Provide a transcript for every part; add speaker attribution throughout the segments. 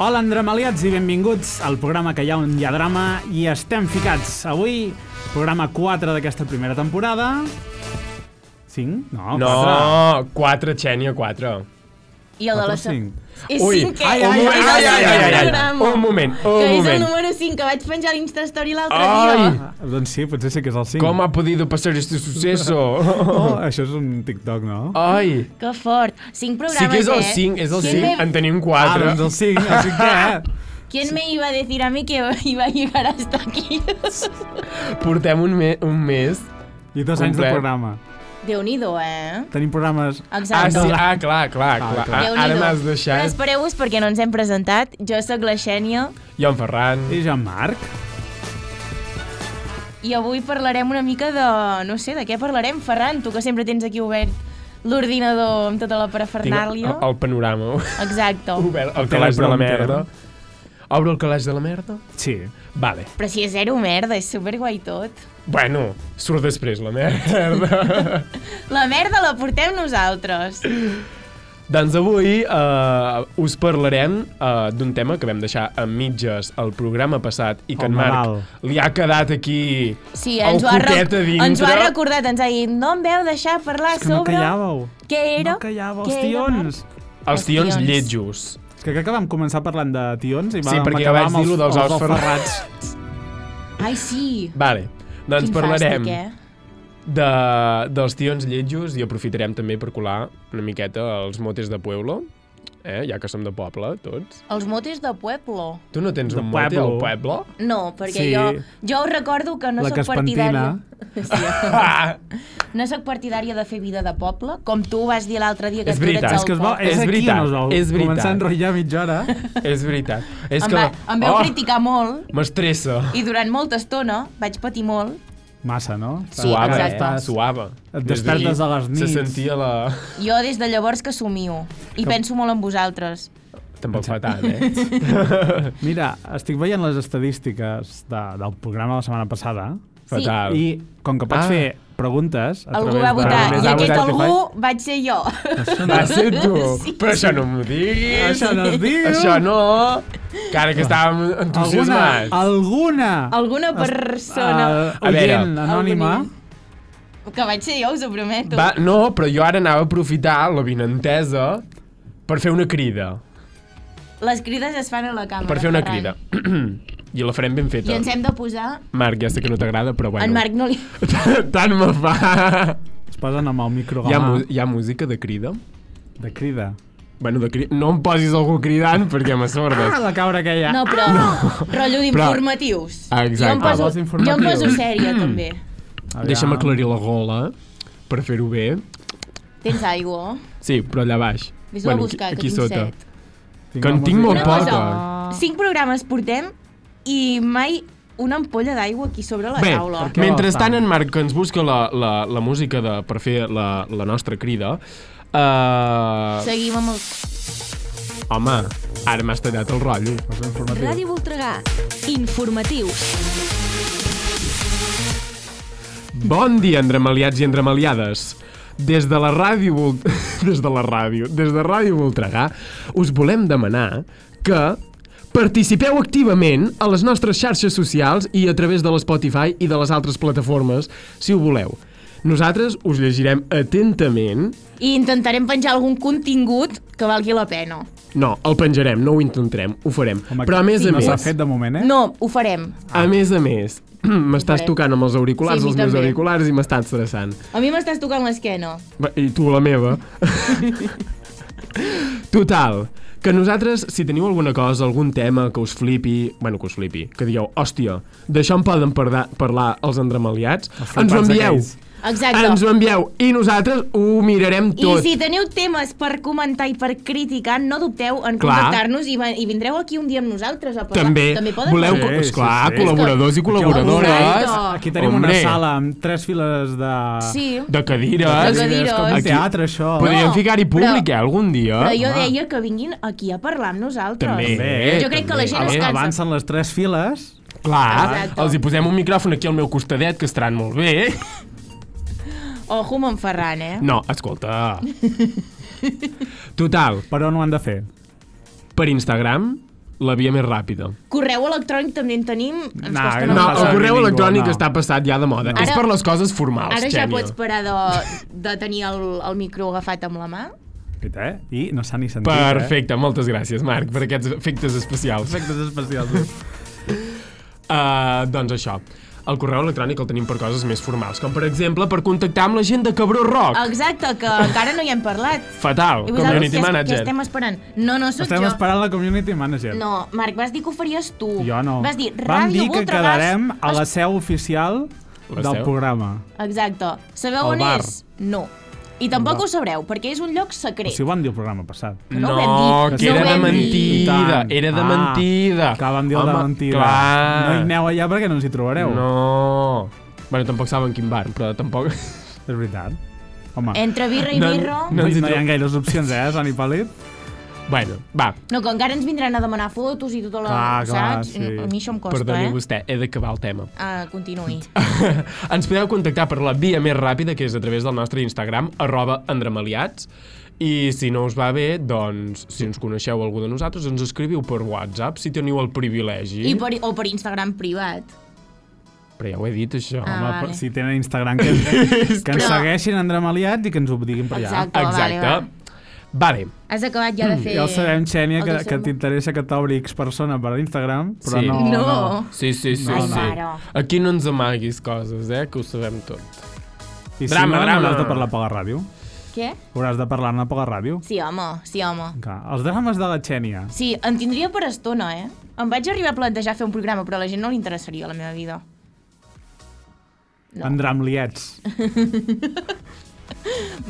Speaker 1: Hola, andramaliats i benvinguts al programa que hi ha on hi ha drama i estem ficats. Avui, programa 4 d'aquesta primera temporada. 5? No,
Speaker 2: No, 4, Xènia, 4.
Speaker 3: I el de la...
Speaker 1: 4 o 5.
Speaker 3: És
Speaker 2: Ui,
Speaker 3: cinquè.
Speaker 1: ai,
Speaker 3: és
Speaker 1: ai,
Speaker 3: el
Speaker 1: ai,
Speaker 3: cinquè
Speaker 1: ai, ai, ai, ai, ai.
Speaker 3: programa.
Speaker 2: Un moment, un
Speaker 3: que és
Speaker 2: moment.
Speaker 3: el número 5, que vaig penjar a l'Instastory l'altre
Speaker 2: Ai,
Speaker 3: dia.
Speaker 1: Ah, doncs sí, potser sí que és el 5.
Speaker 2: com ha podido pasar este suceso?
Speaker 1: Oh, això és un TikTok, no?
Speaker 2: Ai,
Speaker 3: Que fort. 5 programes,
Speaker 2: sí que és el
Speaker 3: eh?
Speaker 2: 5, és el
Speaker 3: ¿Quién
Speaker 2: 5,
Speaker 3: me-
Speaker 2: en tenim
Speaker 1: Ah,
Speaker 2: 4.
Speaker 1: doncs el 5, el 5
Speaker 3: ¿Quién me iba a decir a mí que iba a llegar hasta aquí?
Speaker 2: Portem un, me un mes.
Speaker 1: I dos anys de
Speaker 2: Complet.
Speaker 1: programa.
Speaker 3: Déu-n'hi-do, eh?
Speaker 1: Tenim programes...
Speaker 2: Ah,
Speaker 3: Exacte.
Speaker 2: sí, ah, clar, clar,
Speaker 1: Ah, clar.
Speaker 2: clar. Ah, ara
Speaker 3: Déu-n'hi-do.
Speaker 2: m'has
Speaker 3: Però
Speaker 2: deixat.
Speaker 3: Espereu-vos perquè no ens hem presentat. Jo sóc la Xènia
Speaker 2: Jo en Ferran.
Speaker 1: I jo, Marc?
Speaker 3: i avui parlarem una mica de... No sé, de què parlarem? Ferran, tu que sempre tens aquí obert l'ordinador amb tota la
Speaker 2: el,
Speaker 3: parafernàlia.
Speaker 2: el panorama
Speaker 3: Exacte.
Speaker 2: obert, el calaix de la
Speaker 1: teleprompter.
Speaker 2: merda. Obro el calaix de la merda?
Speaker 1: Sí.
Speaker 2: Vale.
Speaker 3: Però si és zero merda, és superguai tot.
Speaker 2: Bueno, surt després la merda.
Speaker 3: La merda la portem nosaltres.
Speaker 2: Doncs avui eh, us parlarem eh, d'un tema que vam deixar a mitges el programa passat i que
Speaker 1: El
Speaker 2: en Marc
Speaker 1: Nadal.
Speaker 2: li ha quedat aquí
Speaker 3: Sí,
Speaker 2: el
Speaker 3: ens ho, ha
Speaker 2: coquet a
Speaker 3: rec-
Speaker 2: dintre.
Speaker 3: ens ho ha recordat, ens ha dit no em veu deixar parlar
Speaker 1: És que no
Speaker 3: sobre...
Speaker 1: callàveu.
Speaker 3: Què era?
Speaker 1: No callàveu,
Speaker 3: Què
Speaker 1: els
Speaker 3: era,
Speaker 1: tions.
Speaker 2: Els tions
Speaker 3: Els tions.
Speaker 2: lletjos.
Speaker 1: És que crec que vam començar parlant de tions i
Speaker 2: Sí,
Speaker 1: vam
Speaker 2: perquè
Speaker 1: acabar
Speaker 2: vaig
Speaker 1: amb els,
Speaker 2: dir-ho dels
Speaker 1: els
Speaker 2: ous ferrats.
Speaker 1: ferrats.
Speaker 3: Ai, sí.
Speaker 2: Vale, doncs
Speaker 3: Quin
Speaker 2: parlarem
Speaker 3: Fàstic, eh?
Speaker 2: de, dels tions lletjos i aprofitarem també per colar una miqueta els motes de pueblo, eh? ja que som de poble tots.
Speaker 3: Els motes de Pueblo.
Speaker 2: Tu no tens
Speaker 1: De
Speaker 2: un mote al
Speaker 1: pueblo.
Speaker 2: pueblo?
Speaker 3: No, perquè
Speaker 1: Sí.
Speaker 3: jo, jo us recordo que no
Speaker 1: La
Speaker 3: sóc
Speaker 1: que es
Speaker 3: partidària...
Speaker 1: pentina.
Speaker 3: Sí.
Speaker 2: Ah,
Speaker 3: No sóc partidària de fer vida de poble, com tu vas dir l'altre dia que
Speaker 2: És
Speaker 3: tu
Speaker 2: veritat.
Speaker 3: eres
Speaker 1: Ah, És que es va,
Speaker 3: poble.
Speaker 1: és,
Speaker 2: És
Speaker 1: aquí
Speaker 2: veritat,
Speaker 1: on es va
Speaker 2: és veritat.
Speaker 1: començar a enrotllar mitja hora.
Speaker 2: és veritat. És
Speaker 3: Em,
Speaker 2: que... Oh,
Speaker 3: va,
Speaker 1: Oh!
Speaker 3: em veu criticar molt
Speaker 2: M'estressa.
Speaker 3: i durant molta estona vaig patir molt
Speaker 1: Massa, no?
Speaker 3: Sí,
Speaker 2: suava,
Speaker 3: exacte.
Speaker 2: eh? Suava.
Speaker 1: Et
Speaker 2: Des
Speaker 1: despertes
Speaker 2: d'ahir
Speaker 1: a les
Speaker 2: Se
Speaker 1: nits.
Speaker 2: sentia la...
Speaker 3: Jo des de llavors que somio i penso molt en vosaltres.
Speaker 2: Tampoc fa tant, eh?
Speaker 1: Mira, estic veient les estadístiques de, del programa de la setmana passada
Speaker 2: Fatal.
Speaker 1: i com que pots
Speaker 2: Ah.
Speaker 1: fer preguntes... A
Speaker 3: Algú
Speaker 1: través
Speaker 3: va
Speaker 1: de-
Speaker 3: votar
Speaker 2: Només
Speaker 3: i
Speaker 2: ha
Speaker 3: aquest
Speaker 2: votat
Speaker 3: algú vaig ser jo.
Speaker 2: Va ser tu.
Speaker 3: Sí,
Speaker 2: Però això no m'ho diguis.
Speaker 1: Això no es diu!
Speaker 2: Això no. Que ara que estàvem
Speaker 1: Alguna,
Speaker 2: entusiasmats.
Speaker 1: alguna
Speaker 3: Alguna persona
Speaker 1: uh,
Speaker 2: A veure.
Speaker 1: oient anònima...
Speaker 3: que vaig ser jo, us ho prometo.
Speaker 2: Va, no, però jo ara anava a aprofitar la vinentesa per fer una crida.
Speaker 3: Les crides es fan a la càmera.
Speaker 2: Per fer una crida.
Speaker 3: Ferran.
Speaker 2: I la farem ben
Speaker 3: I
Speaker 2: feta.
Speaker 3: ens hem de posar...
Speaker 2: Marc, ja sé que no t'agrada, però bueno.
Speaker 3: En Marc no li...
Speaker 2: Tant me fa.
Speaker 1: Es posen amb el
Speaker 2: Hi ha,
Speaker 1: microgama
Speaker 2: mu- hi ha música de crida?
Speaker 1: de crida.
Speaker 2: Bueno, de crida. No em posis algú cridant perquè m'assordes.
Speaker 1: Ah, la cabra que hi ha.
Speaker 3: No, però... Rotllo d'informatius.
Speaker 2: Ah, Mm. exacte.
Speaker 3: Jo em poso,
Speaker 1: Ah, vols
Speaker 3: jo em poso
Speaker 1: informatius.
Speaker 3: sèria, també.
Speaker 1: Aviam.
Speaker 2: Deixa'm aclarir la gola eh, per fer-ho bé.
Speaker 3: Tens aigua?
Speaker 2: Sí, però allà baix.
Speaker 3: Vés-ho a buscar,
Speaker 2: aquí, aquí
Speaker 3: que tinc
Speaker 2: sota. Ah.
Speaker 3: set.
Speaker 2: Que en tinc molt
Speaker 3: Una
Speaker 2: poca.
Speaker 3: cosa, cinc programes portem i mai una ampolla d'aigua aquí sobre la
Speaker 2: Bé,
Speaker 3: taula.
Speaker 1: què
Speaker 2: mentrestant
Speaker 1: vols,
Speaker 2: en Marc que ens busca la, la, la música de, per fer la, la nostra crida, uh,
Speaker 3: Seguim amb el...
Speaker 2: home, ara m'has tallat el rotllo.
Speaker 1: És informatiu.
Speaker 4: Ràdio Voltregà. Informatius.
Speaker 2: Bon dia, andramaliats i andramaliades. Des de la ràdio... Vol- Des de la ràdio... Des de Ràdio Voltregà us volem demanar que participeu activament a les nostres xarxes socials i a través de l'Spotify i de les altres plataformes, si ho voleu. Nosaltres us llegirem atentament
Speaker 3: I intentarem penjar algun contingut que valgui la pena.
Speaker 2: No, el penjarem, no ho intentarem, ho farem.
Speaker 1: Home,
Speaker 2: Però a més a
Speaker 1: no s'ha
Speaker 2: més,
Speaker 1: fet de moment, eh?
Speaker 3: No, ho farem.
Speaker 2: a més a més, m'estàs
Speaker 3: farem.
Speaker 2: tocant amb els auriculars,
Speaker 3: Sí, a mi
Speaker 2: els meus
Speaker 3: també.
Speaker 2: auriculars i m'està estressant.
Speaker 3: A mi m'estàs tocant l'esquena.
Speaker 2: Va, I tu la meva. Total, que nosaltres, si teniu alguna cosa, algun tema que us flipi, bueno, que us flipi, que digueu, hòstia, d'això en poden parlar, parlar els andramaliats, ens ho
Speaker 1: flipats
Speaker 2: envieu.
Speaker 1: aquells.
Speaker 3: Exacte.
Speaker 2: Ens ho envieu i nosaltres ho mirarem
Speaker 3: I
Speaker 2: tot.
Speaker 3: si teniu temes per comentar i per criticar, no dubteu en
Speaker 2: Clar.
Speaker 3: contactar-nos i, ve- i vindreu aquí un dia amb nosaltres a parlar.
Speaker 2: També,
Speaker 3: També poden
Speaker 2: voleu,
Speaker 1: Sí,
Speaker 2: sí,
Speaker 1: sí,
Speaker 2: esclar,
Speaker 1: sí.
Speaker 2: sí, col·laboradors i col·laboradores.
Speaker 3: Exacte.
Speaker 1: Aquí tenim Hombre. una
Speaker 2: Hombre.
Speaker 1: sala amb tres files de...
Speaker 3: Sí.
Speaker 2: De cadires.
Speaker 3: De cadires.
Speaker 1: Com un
Speaker 2: Aquí-
Speaker 1: teatre, això.
Speaker 2: Podríem
Speaker 3: No,
Speaker 2: ficar-hi públic,
Speaker 3: però-
Speaker 2: eh, algun dia.
Speaker 3: Però jo
Speaker 1: home.
Speaker 3: deia que vinguin aquí a parlar amb nosaltres.
Speaker 2: També.
Speaker 1: També,
Speaker 3: jo crec que la gent
Speaker 2: també.
Speaker 3: es cansa.
Speaker 1: Avancen les tres files.
Speaker 2: Clar,
Speaker 3: Exacte.
Speaker 2: els hi posem un micròfon aquí al meu costadet, que estaran molt bé. eh?
Speaker 3: Ojo amb en Ferran, eh?
Speaker 2: No, escolta. Total,
Speaker 1: Per on ho han de fer?
Speaker 2: per Instagram, la via més ràpida.
Speaker 3: Correu electrònic també en tenim. Ens
Speaker 1: No,
Speaker 3: costa
Speaker 1: no
Speaker 2: No, el
Speaker 3: una
Speaker 1: passa
Speaker 3: passa.
Speaker 2: correu
Speaker 1: ningú,
Speaker 2: electrònic
Speaker 1: no.
Speaker 2: està passat ja de moda.
Speaker 3: Ara-
Speaker 2: és per les coses formals,
Speaker 3: Ara ja
Speaker 2: Xènia.
Speaker 3: pots parar de, de tenir el, el micro agafat amb la mà.
Speaker 1: Escolta, eh? I no s'ha ni sentit, eh?
Speaker 2: Perfecte, moltes gràcies, Marc, per aquests efectes especials. Efectes especials. uh, doncs això, el correu electrònic el tenim per coses més formals, com per exemple per contactar amb la gent de Cabró Rock.
Speaker 3: Exacte, que encara no hi hem parlat.
Speaker 2: Fatal,
Speaker 3: I vosaltres
Speaker 2: community
Speaker 3: què,
Speaker 2: manager.
Speaker 3: què estem esperant? No, no, sóc
Speaker 1: Estem
Speaker 3: jo.
Speaker 1: esperant la community manager.
Speaker 3: No, Marc, vas dir que ho faries tu.
Speaker 1: Jo no.
Speaker 3: Vas dir,
Speaker 1: Vam
Speaker 3: Ràdio
Speaker 1: dir que
Speaker 3: Voltregàs...
Speaker 1: quedarem a la seu oficial
Speaker 2: La
Speaker 1: del
Speaker 2: seu?
Speaker 1: programa.
Speaker 3: Exacte. Sabeu
Speaker 2: Al
Speaker 3: on
Speaker 2: bar.
Speaker 3: és? No. I tampoc
Speaker 1: No.
Speaker 3: ho sabreu, perquè és un lloc
Speaker 1: O
Speaker 3: secret.
Speaker 1: sigui, ho vam dir el programa passat.
Speaker 3: Que no ho
Speaker 2: no,
Speaker 3: vam dir.
Speaker 2: que era
Speaker 3: No ho
Speaker 2: de
Speaker 3: vam dir.
Speaker 2: mentida, era de
Speaker 1: ah,
Speaker 2: mentida.
Speaker 1: Que vam dir el de
Speaker 2: Home,
Speaker 1: mentida.
Speaker 2: Clar.
Speaker 1: No hi aneu allà perquè no ens hi trobareu.
Speaker 2: No. Bueno, tampoc saben quin bar, però tampoc...
Speaker 1: És veritat. Home,
Speaker 3: Entre birra i
Speaker 2: No,
Speaker 3: birro...
Speaker 1: no,
Speaker 2: no ens hi
Speaker 1: no hi ha
Speaker 2: tro-
Speaker 1: gaires opcions, eh, Sani Pàl·lid?
Speaker 2: Bueno, va,
Speaker 3: No, que encara ens vindran a demanar fotos i tota la...
Speaker 1: Clar, Ah, clar,
Speaker 3: saps?
Speaker 1: sí.
Speaker 3: A mi això em costa,
Speaker 2: perdoni
Speaker 3: eh?
Speaker 2: vostè, he d'acabar el tema.
Speaker 3: Ah, continuï.
Speaker 2: Ens podeu contactar per la via més ràpida, que és a través del nostre Instagram, arroba andramaliats, i si no us va bé, doncs, si ens coneixeu algú de nosaltres, ens escriviu per WhatsApp, si teniu el privilegi.
Speaker 3: I per, o per Instagram privat.
Speaker 2: Però ja ho he dit, això.
Speaker 3: Ah,
Speaker 1: Home,
Speaker 3: vale.
Speaker 1: però si tenen Instagram, que, ens- que ens
Speaker 3: Però-
Speaker 1: segueixin endramaliats i que ens ho diguin per allà.
Speaker 3: Exacte. vale,
Speaker 2: Exacte. Vale,
Speaker 3: Has acabat ja de fer...
Speaker 1: Mm. Ja ho sabem, Xènia,
Speaker 3: el
Speaker 1: que,
Speaker 3: teu
Speaker 1: que
Speaker 3: sermó.
Speaker 1: t'interessa que t'obrics persona per Instagram, però
Speaker 2: Sí.
Speaker 1: no,
Speaker 3: No.
Speaker 2: Sí, sí, sí,
Speaker 1: No,
Speaker 2: sí.
Speaker 3: no.
Speaker 2: Aquí no ens amaguis coses, eh, que ho sabem tot.
Speaker 1: I si
Speaker 2: Drama,
Speaker 1: no,
Speaker 2: drama.
Speaker 1: hauràs de parlar per la ràdio.
Speaker 3: Què?
Speaker 1: Hauràs de parlar-ne per la ràdio.
Speaker 3: Sí, home, sí, home.
Speaker 1: Clar, els drames de la Xènia.
Speaker 3: Sí, en tindria per estona, eh? Em vaig arribar a plantejar fer un programa, però a la gent no li interessaria la meva vida.
Speaker 1: No. Endramliets.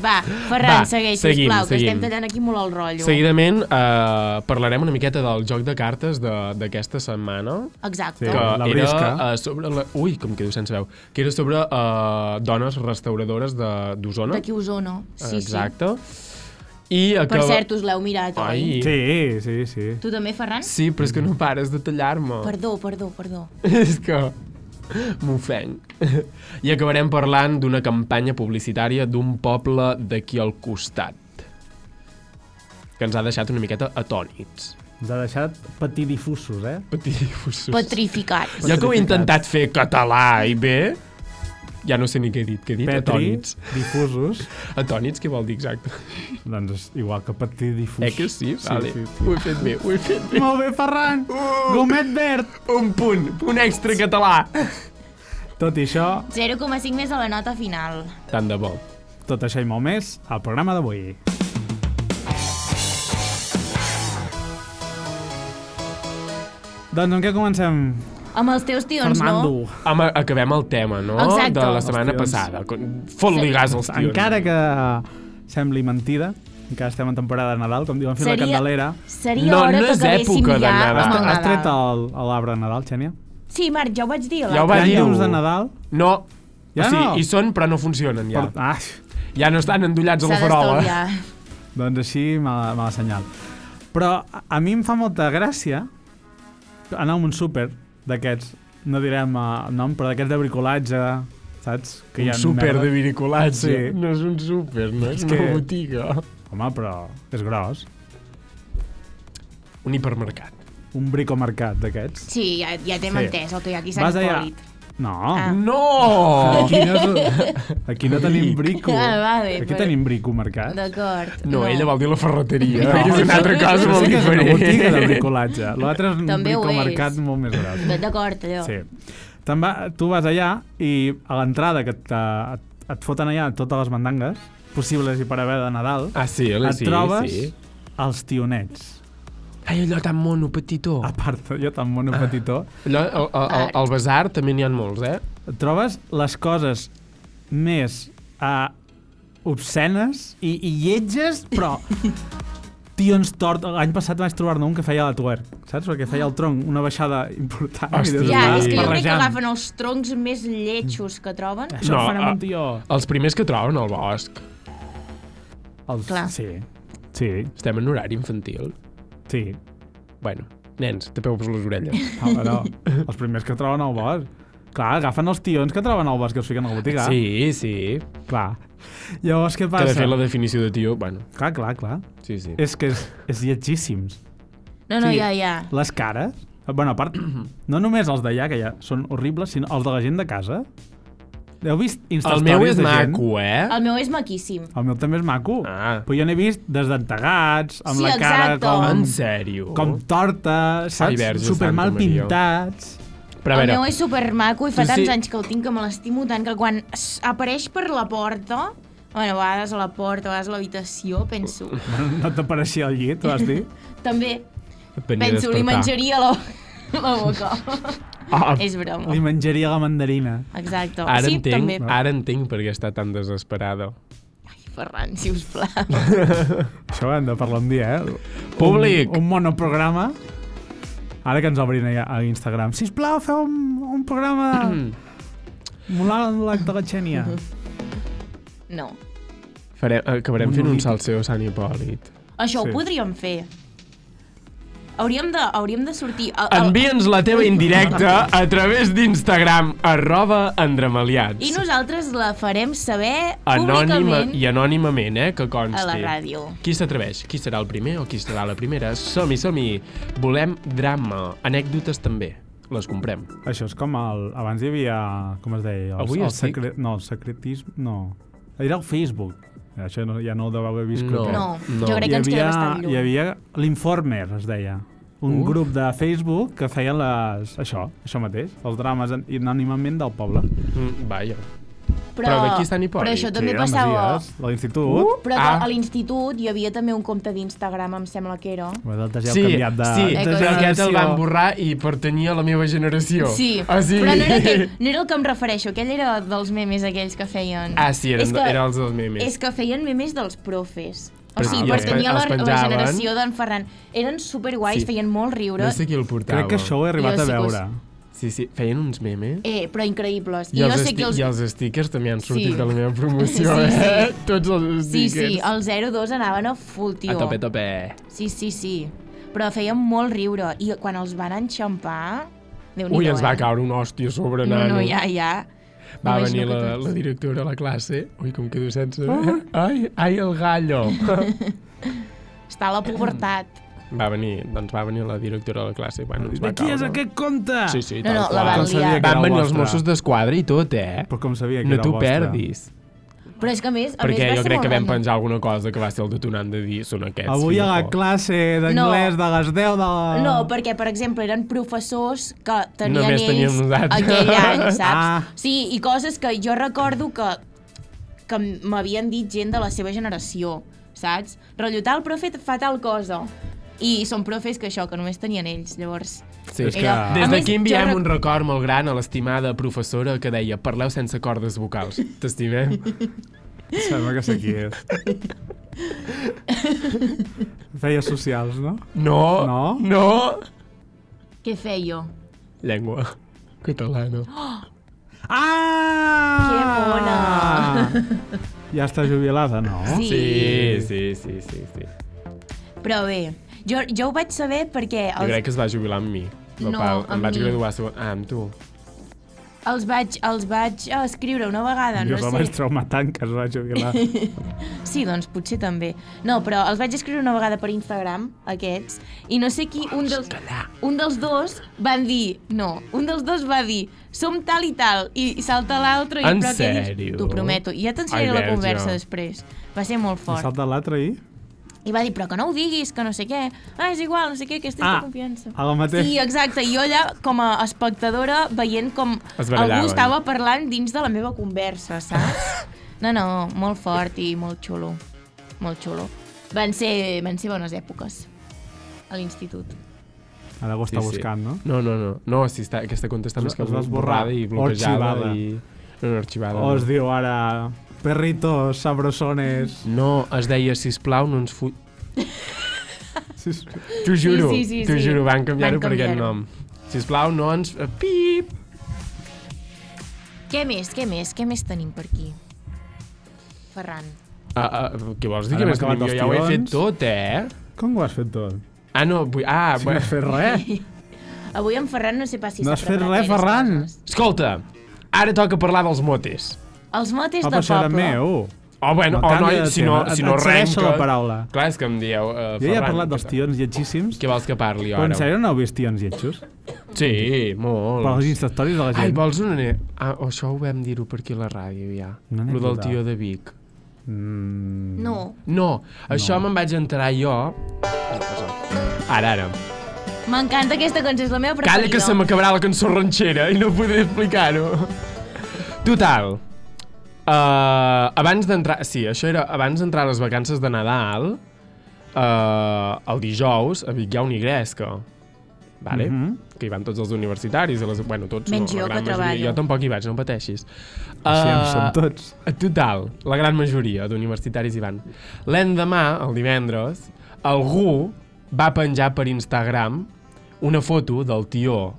Speaker 3: Va, Ferran,
Speaker 2: Va,
Speaker 3: segueix,
Speaker 2: seguim,
Speaker 3: sisplau, que
Speaker 2: seguim.
Speaker 3: estem tallant aquí molt el rotllo.
Speaker 2: Seguidament eh, parlarem una miqueta del joc de cartes de- d'aquesta setmana.
Speaker 3: Exacte.
Speaker 1: Sí.
Speaker 2: que
Speaker 1: la
Speaker 2: era
Speaker 1: brisca.
Speaker 2: eh, sobre la... Ui, que em quedo sense veu. Que era sobre eh, dones restauradores de- d'Osona.
Speaker 3: D'aquí us o no. Sí,
Speaker 2: Exacte. I
Speaker 3: sí. Per
Speaker 2: acaba...
Speaker 3: cert, us l'heu mirat, oi?
Speaker 2: Ai.
Speaker 1: Sí, sí, sí.
Speaker 3: Tu també, Ferran?
Speaker 2: Sí, però és que no pares de tallar-me.
Speaker 3: Perdó, perdó, perdó.
Speaker 2: És que m'ofenc. I acabarem parlant d'una campanya publicitària d'un poble d'aquí al costat que ens ha deixat una miqueta atònits.
Speaker 1: Ens ha deixat patidifusos, eh?
Speaker 2: Patifussos.
Speaker 3: Petrificats.
Speaker 2: Jo que ho he intentat fer català i bé, ja no sé ni què he dit, què he dit?
Speaker 1: Petri,
Speaker 2: Atònits.
Speaker 1: difusos.
Speaker 2: Atònits, què vol dir exacte?
Speaker 1: doncs és igual que patidifus.
Speaker 2: Eh que sí? Vale.
Speaker 1: Sí,
Speaker 2: Ho he fet bé, ho he fet bé.
Speaker 1: Molt bé, Ferran!
Speaker 2: Uh!
Speaker 1: Gomet verd!
Speaker 2: Un punt, un extra català.
Speaker 1: Tot i això,
Speaker 3: 0,5 més a la nota final.
Speaker 2: Tant de bo.
Speaker 1: tot això i molt més al programa d'avui. Doncs amb què comencem,
Speaker 3: Amb els teus tions,
Speaker 1: Fernando?
Speaker 3: Doncs no?
Speaker 2: Home, acabem el tema, no?
Speaker 3: Exacte.
Speaker 2: De la setmana
Speaker 1: Els tions.
Speaker 2: passada. Con- Fot-li gas als tions.
Speaker 1: Encara que sembli mentida, encara estem en temporada de Nadal, com diuen fent la
Speaker 3: Seria-
Speaker 1: Candelera.
Speaker 3: Seria
Speaker 2: No,
Speaker 3: hora
Speaker 2: no
Speaker 3: que
Speaker 2: és
Speaker 3: acabéssim
Speaker 2: època de
Speaker 3: ja
Speaker 2: Nadal.
Speaker 3: amb el
Speaker 1: Has
Speaker 3: Nadal.
Speaker 1: tret el- a l'arbre de Nadal, Xènia?
Speaker 3: Sí, Marc, ja ho vaig dir.
Speaker 2: Ja ho
Speaker 3: l'altre
Speaker 2: va
Speaker 1: Hi ha
Speaker 2: dir.
Speaker 1: llums de Nadal?
Speaker 2: No.
Speaker 1: Ja
Speaker 2: o sigui,
Speaker 1: no.
Speaker 2: hi són, però no funcionen ja.
Speaker 1: Per, ah,
Speaker 2: Ja no estan endollats a
Speaker 3: S'ha
Speaker 2: la eh? farola.
Speaker 3: d'estalviar.
Speaker 1: doncs així me la, me la senyal. Però a, a mi em fa molta gràcia anar a un súper d'aquests, no direm el nom, però d'aquests de bricolatge, saps? hi
Speaker 2: Un
Speaker 1: ha
Speaker 2: súper
Speaker 1: merda.
Speaker 2: de vinicolatge.
Speaker 1: Sí.
Speaker 2: eh? No és un súper, no és,
Speaker 1: És
Speaker 2: una
Speaker 1: que-
Speaker 2: botiga.
Speaker 1: Home, però és gros.
Speaker 2: Un hipermercat.
Speaker 1: Un bricomercat d'aquests.
Speaker 3: Sí, ja, ja t'hem
Speaker 1: Sí.
Speaker 3: entès el que hi ha aquí a Sant Hipòlit.
Speaker 1: No,
Speaker 3: Ah.
Speaker 2: No!
Speaker 1: aquí, no és, aquí no tenim brico.
Speaker 3: Ah, vale,
Speaker 1: aquí
Speaker 3: però-
Speaker 1: tenim bricomercat.
Speaker 3: D'acord.
Speaker 2: No, ella vol dir la ferreteria,
Speaker 1: No.
Speaker 2: que és una altra cosa
Speaker 1: Però
Speaker 2: molt
Speaker 1: sí que és una
Speaker 2: diferent.
Speaker 1: botiga de bricolatge. L'altre és un
Speaker 3: Doncs També ho
Speaker 1: bricomercat
Speaker 3: és.
Speaker 1: molt més gros.
Speaker 3: D'acord, allò.
Speaker 1: Sí. Te'n va, tu vas allà i a l'entrada que et, et, et foten allà totes les mandangues possibles i per haver de Nadal,
Speaker 2: Ah, sí,
Speaker 1: et
Speaker 2: hola, sí,
Speaker 1: trobes
Speaker 2: sí.
Speaker 1: els tionets.
Speaker 2: Ai, allò tan mono, petitó.
Speaker 1: A part, jo tan mono petitó,
Speaker 2: Allò, al, al, al,
Speaker 1: Ah.
Speaker 2: al bazar també n'hi ha molts, eh?
Speaker 1: et trobes les coses més uh, obscenes i, i lletges, però tions tort. L'any passat vaig trobar-ne un que feia la twerk, saps? Perquè feia el tronc una baixada important. i
Speaker 2: Hòstia.
Speaker 1: dius,
Speaker 3: Ja,
Speaker 1: "Va,
Speaker 3: és que jo crec que
Speaker 1: barrejant".
Speaker 3: agafen els troncs més lletjos que troben.
Speaker 1: Això no, eh,
Speaker 2: No,
Speaker 1: ho fan amb
Speaker 2: ah.
Speaker 1: un tió.
Speaker 2: Els primers que troben al bosc.
Speaker 1: Els,
Speaker 3: Clar.
Speaker 1: Sí, sí,
Speaker 2: Estem en horari infantil.
Speaker 1: sí.
Speaker 2: Bueno, nens, tapeu-vos les orelles.
Speaker 1: Ah, però els primers que troben al bosc. Clar, agafen els tions que troben al bosc i els fiquen a la botiga.
Speaker 2: Sí, sí.
Speaker 1: Clar. Llavors, què
Speaker 2: Que
Speaker 1: passa?
Speaker 2: de fet la definició de tio, bueno, Eh,
Speaker 1: Clar, clar, clar.
Speaker 2: sí, sí.
Speaker 1: És que és, és lletgíssims.
Speaker 3: No, no,
Speaker 1: Sí.
Speaker 3: ja, ja.
Speaker 1: Les cares, bueno, a part, no només els d'allà, que ja són horribles, sinó els de la gent de casa. Heu vist
Speaker 2: El
Speaker 1: Instastories
Speaker 2: meu és
Speaker 1: de
Speaker 2: maco, eh?
Speaker 3: El meu és maquíssim.
Speaker 1: Gent? El meu també és maco.
Speaker 2: Ah.
Speaker 1: Però jo n'he vist desdentegats, amb
Speaker 3: Sí,
Speaker 1: la cara
Speaker 3: exacte.
Speaker 1: com,
Speaker 2: En sèrio?
Speaker 1: com torta, saps?
Speaker 2: verge,
Speaker 1: Super mal
Speaker 2: Santa Maria.
Speaker 1: pintats.
Speaker 2: Però a
Speaker 3: el
Speaker 2: veure,
Speaker 3: meu és supermaco i fa
Speaker 2: Tu sí.
Speaker 3: tants anys que el tinc que me l'estimo tant que quan s- apareix per la porta, bueno, a vegades a la porta, a vegades a l'habitació, penso,
Speaker 1: No t'apareixia al llit, ho has dit?
Speaker 3: també,
Speaker 2: et venia
Speaker 3: penso,
Speaker 2: a
Speaker 3: li
Speaker 2: despertar.
Speaker 3: menjaria la, la boca.
Speaker 2: Ah,
Speaker 3: És broma.
Speaker 1: Li menjaria la mandarina.
Speaker 3: Exacte.
Speaker 2: ara,
Speaker 3: sí,
Speaker 2: entenc,
Speaker 3: també.
Speaker 2: ara entenc per què està tan desesperada.
Speaker 3: Ai, Ferran, sisplau.
Speaker 1: Això hem de parlar un dia, eh?
Speaker 2: Públic.
Speaker 1: Un, un monoprograma. Ara que ens obrin a, a Instagram. Sisplau, feu un, un programa... Molar l'acte de la Xènia.
Speaker 3: No.
Speaker 2: Farem, acabarem
Speaker 1: Un
Speaker 2: fent un
Speaker 1: monolític.
Speaker 2: salseo a Sant Hipòlit.
Speaker 3: Això
Speaker 1: Sí.
Speaker 3: ho podríem fer. Hauríem de, hauríem de sortir... A, a,
Speaker 2: Envia'ns la teva indirecta a través d'Instagram, arroba andramaliats.
Speaker 3: I nosaltres la farem saber
Speaker 2: Anònima
Speaker 3: públicament
Speaker 2: i anònimament, eh, que consti.
Speaker 3: a la ràdio.
Speaker 2: Qui s'atreveix? Qui serà el primer o qui serà la primera? Som-hi, som-hi. Volem drama, anècdotes també. Les comprem.
Speaker 1: Això és com el... Abans hi havia... Com es deia? El,
Speaker 2: Avui
Speaker 1: el
Speaker 2: estic-
Speaker 1: secret, No, el secretisme... No. Era el Facebook. Això no, ja no ho deveu haver vist. crec que.
Speaker 3: No,
Speaker 2: No.
Speaker 3: jo crec
Speaker 1: Hi
Speaker 3: que ens
Speaker 1: havia,
Speaker 3: queda bastant lluny.
Speaker 1: hi havia l'Informer, es deia. Un
Speaker 2: Uf.
Speaker 1: grup de Facebook que feia les... això, això mateix, els drames an- anònimament del poble.
Speaker 2: Mm, vaja. però d'aquí està Nipoli.
Speaker 3: Però això
Speaker 2: Sí,
Speaker 3: també
Speaker 1: Sí, a
Speaker 3: passava...
Speaker 1: Masies, a l'institut.
Speaker 3: Però
Speaker 2: Ah.
Speaker 3: ah. a l'institut hi havia també un compte d'Instagram, em sembla que era.
Speaker 1: Vosaltres ja heu
Speaker 2: sí,
Speaker 1: canviat de...
Speaker 2: sí,
Speaker 1: de
Speaker 2: però aquest el
Speaker 1: generació.
Speaker 2: va emborrar i pertanyia a la meva generació. Ah,
Speaker 3: Sí,
Speaker 2: o sigui...
Speaker 3: però no era, aquell, no era el que em refereixo, aquell era dels memes aquells que feien.
Speaker 2: Ah, sí, eren,
Speaker 3: És que,
Speaker 2: eren els dels memes.
Speaker 3: És que feien memes dels profes. O
Speaker 2: Però
Speaker 3: sigui,
Speaker 2: sí, els
Speaker 3: pertanyia a la,
Speaker 2: pen- els
Speaker 3: a la
Speaker 2: penjaven.
Speaker 3: generació d'en Ferran. Eren superguais,
Speaker 2: Sí.
Speaker 3: sí. feien molt riure.
Speaker 2: No sé qui el portava.
Speaker 1: Crec que això ho he arribat
Speaker 3: Jo
Speaker 1: a
Speaker 3: sí que ho
Speaker 1: veure.
Speaker 2: Sí, sí, feien uns memes.
Speaker 3: Eh, però increïbles.
Speaker 2: I,
Speaker 3: I, jo
Speaker 2: els
Speaker 3: sé que
Speaker 2: esti-
Speaker 3: els...
Speaker 2: I els stickers també han sortit
Speaker 3: Sí.
Speaker 2: de la meva promoció,
Speaker 3: Sí, sí.
Speaker 2: eh? Tots els
Speaker 3: Sí,
Speaker 2: stickers.
Speaker 3: sí, el 02 anaven a full, tio.
Speaker 2: A tope, tope.
Speaker 3: Sí, sí, sí. Però feien molt riure. I quan els van enxampar... déu
Speaker 2: Ui, ens va caure un hòstia a sobre,
Speaker 3: eh. No,
Speaker 2: nano.
Speaker 3: no, ja, ja.
Speaker 2: Va
Speaker 3: M'imagino
Speaker 2: venir
Speaker 3: que
Speaker 2: la,
Speaker 3: tots.
Speaker 2: la directora a la classe. Ui, com quedo sense... eh?
Speaker 1: Ah.
Speaker 2: Ai, ai, el gallo.
Speaker 3: Està a la pubertat.
Speaker 2: va venir, doncs va venir la directora de la classe. Bueno, ens
Speaker 1: De
Speaker 2: va
Speaker 1: qui és
Speaker 2: caure.
Speaker 1: aquest conte?
Speaker 2: Sí, sí,
Speaker 3: No,
Speaker 2: tal
Speaker 3: no, la
Speaker 2: qual.
Speaker 3: van Com sabia liar. que
Speaker 1: era
Speaker 2: Van venir
Speaker 1: el
Speaker 2: els
Speaker 1: vostre.
Speaker 2: Mossos d'esquadra i tot, eh?
Speaker 1: Però com sabia que
Speaker 2: No
Speaker 1: era el
Speaker 2: t'ho
Speaker 1: vostre?
Speaker 2: perdis.
Speaker 3: Però és que a més... A
Speaker 2: Perquè
Speaker 3: més, va
Speaker 2: jo
Speaker 3: ser
Speaker 2: crec
Speaker 3: molt
Speaker 2: que vam
Speaker 3: random.
Speaker 2: penjar alguna cosa que va ser el detonant de dir són aquests.
Speaker 1: Avui a la
Speaker 2: filofo".
Speaker 1: classe d'anglès
Speaker 3: No.
Speaker 1: de les 10 de... la-
Speaker 3: No, perquè, per exemple, eren professors que tenien
Speaker 2: Només teníem
Speaker 3: ells
Speaker 2: nosaltres.
Speaker 3: aquell any, saps?
Speaker 1: Ah.
Speaker 3: Sí, i coses que jo recordo que, que m'havien dit gent de la seva generació, saps? Rellotar el profe fa tal cosa. I són profes que això, que només tenien ells, llavors.
Speaker 2: Sí,
Speaker 1: És que-
Speaker 3: Era-
Speaker 2: Des
Speaker 3: A
Speaker 2: d'aquí
Speaker 3: més,
Speaker 2: enviem
Speaker 3: jo rec-
Speaker 2: un record molt gran a l'estimada professora que deia parleu sense cordes vocals. T'estimem?
Speaker 1: Sembla que sé qui és. Feia socials, no?
Speaker 2: No,
Speaker 1: No?
Speaker 2: no.
Speaker 3: Què feia?
Speaker 2: Llengua catalana.
Speaker 3: Oh.
Speaker 1: Ah!
Speaker 3: Que
Speaker 1: bona! Ja està jubilada, no?
Speaker 3: Sí.
Speaker 2: Sí, sí, sí, sí. sí.
Speaker 3: Però bé, jo, jo ho vaig saber perquè
Speaker 2: Jo
Speaker 3: els,
Speaker 2: crec que es va jubilar amb mi. La
Speaker 3: No,
Speaker 2: Pau, em
Speaker 3: amb
Speaker 2: vaig
Speaker 3: mi.
Speaker 2: graduar segon... Ah, amb tu.
Speaker 3: els, vaig, els vaig eh, escriure una vegada,
Speaker 1: Jo
Speaker 3: no
Speaker 1: la
Speaker 3: sé.
Speaker 1: vaig traumar tant que es va jubilar.
Speaker 3: Sí, doncs potser també. No, però els vaig escriure una vegada per Instagram, aquests, i no sé qui,
Speaker 2: Oh,
Speaker 3: un dels, un dels dos van dir, no, un dels dos va dir, som tal i tal, i salta l'altre i...
Speaker 2: En
Speaker 3: però què dius?
Speaker 2: sèrio?
Speaker 3: T'ho prometo, i ja
Speaker 2: Ai,
Speaker 3: t'ensenyaré la
Speaker 2: verge.
Speaker 3: conversa després. Va ser molt
Speaker 1: I
Speaker 3: fort.
Speaker 1: salta l'altre i...
Speaker 3: I va dir, però que no ho diguis, que no sé què. Ah, és igual, no sé què, aquesta és
Speaker 1: Ah,
Speaker 3: la confiança.
Speaker 1: a la mateixa...
Speaker 3: Sí, exacte, i jo allà, com a espectadora, veient com
Speaker 2: Es barallaven.
Speaker 1: eh?
Speaker 3: algú estava parlant dins de la meva conversa, saps? No, no, molt fort i molt xulo. Molt xulo. Van ser, van ser bones èpoques a l'institut.
Speaker 1: Ara ho està buscant, no?
Speaker 2: No, no, no. No, si està, aquesta conta està
Speaker 1: Es-
Speaker 2: més que
Speaker 1: es va esborrar.
Speaker 2: borrada i
Speaker 1: O
Speaker 2: bloquejada.
Speaker 1: arxivada.
Speaker 2: I... No, no, arxivada.
Speaker 1: O es
Speaker 2: No.
Speaker 1: diu ara... Perritos, sabrosones...
Speaker 2: no, es deia, sisplau, no ens fu...
Speaker 1: Sí, sí.
Speaker 2: T'ho juro,
Speaker 3: sí, sí,
Speaker 2: t'ho
Speaker 3: sí.
Speaker 2: juro, van canviar-ho
Speaker 3: Van
Speaker 2: per aquest
Speaker 3: canviar-ho.
Speaker 2: nom. Sisplau, no ens... eh, Pip!
Speaker 3: Què més, què més, què més tenim per aquí? Ferran.
Speaker 2: Ah, ah, què vols dir?
Speaker 1: Ara
Speaker 2: que
Speaker 1: hem
Speaker 2: més
Speaker 1: acabat
Speaker 2: tenim?
Speaker 1: els
Speaker 2: jo ja ho he fet
Speaker 1: tions.
Speaker 2: tot, eh?
Speaker 1: Com ho has fet tot?
Speaker 2: Ah, no, vull... Ah,
Speaker 1: No
Speaker 2: bueno.
Speaker 1: has fet res?
Speaker 3: Avui en Ferran no sé pas si
Speaker 1: No
Speaker 3: s'ha
Speaker 1: has fet
Speaker 3: preparat
Speaker 1: res,
Speaker 3: gaires
Speaker 1: Ferran.
Speaker 3: coses.
Speaker 2: Escolta, ara toca parlar dels motes.
Speaker 3: Els motes
Speaker 1: Ah,
Speaker 3: de
Speaker 1: però això era
Speaker 3: poble.
Speaker 1: meu.
Speaker 2: O, bueno,
Speaker 1: No,
Speaker 2: o
Speaker 1: canvia
Speaker 2: noi,
Speaker 1: de
Speaker 2: si
Speaker 1: tema.
Speaker 2: no,
Speaker 1: Et-
Speaker 2: si no
Speaker 1: et segueixo
Speaker 2: arrenca...
Speaker 1: la paraula.
Speaker 2: Clar, és que em dieu... Uh,
Speaker 1: Jo ja he parlat dels tions lletgíssims,
Speaker 2: Què vols que parli
Speaker 1: però
Speaker 2: ara?
Speaker 1: en sèrio no heu vist tions lletjos?
Speaker 2: Sí, molt.
Speaker 1: Per les instastories de la
Speaker 2: Ai,
Speaker 1: gent.
Speaker 2: vols una nena? Ah, això ho vam dir-ho per aquí a la ràdio, ja.
Speaker 1: Una
Speaker 2: Lo del
Speaker 1: anècdota.
Speaker 2: tio de Vic.
Speaker 1: Mm,
Speaker 3: No.
Speaker 2: No, això me'n vaig enterar jo... Ara, ara.
Speaker 3: M'encanta aquesta cançó, és la meva preferida.
Speaker 2: Calla que se m'acabarà la cançó ranxera i no podré explicar-ho. Total. Uh, abans d'entrar... Sí, això era abans d'entrar a les vacances de Nadal, uh, el dijous, a Vic hi ha un igresca. Vale? Mm
Speaker 1: Mhm.
Speaker 2: -hmm. Que hi van tots els universitaris, i les, bueno, tots
Speaker 3: Menys
Speaker 2: no,
Speaker 3: jo,
Speaker 2: la gran
Speaker 3: que
Speaker 2: majoria.
Speaker 3: treballo.
Speaker 2: Jo tampoc hi vaig, no pateixis.
Speaker 3: Ah.
Speaker 1: Així en
Speaker 2: Eh,
Speaker 1: som tots.
Speaker 2: Total, la gran majoria d'universitaris hi van. L'endemà, el divendres, algú va penjar per Instagram una foto del tio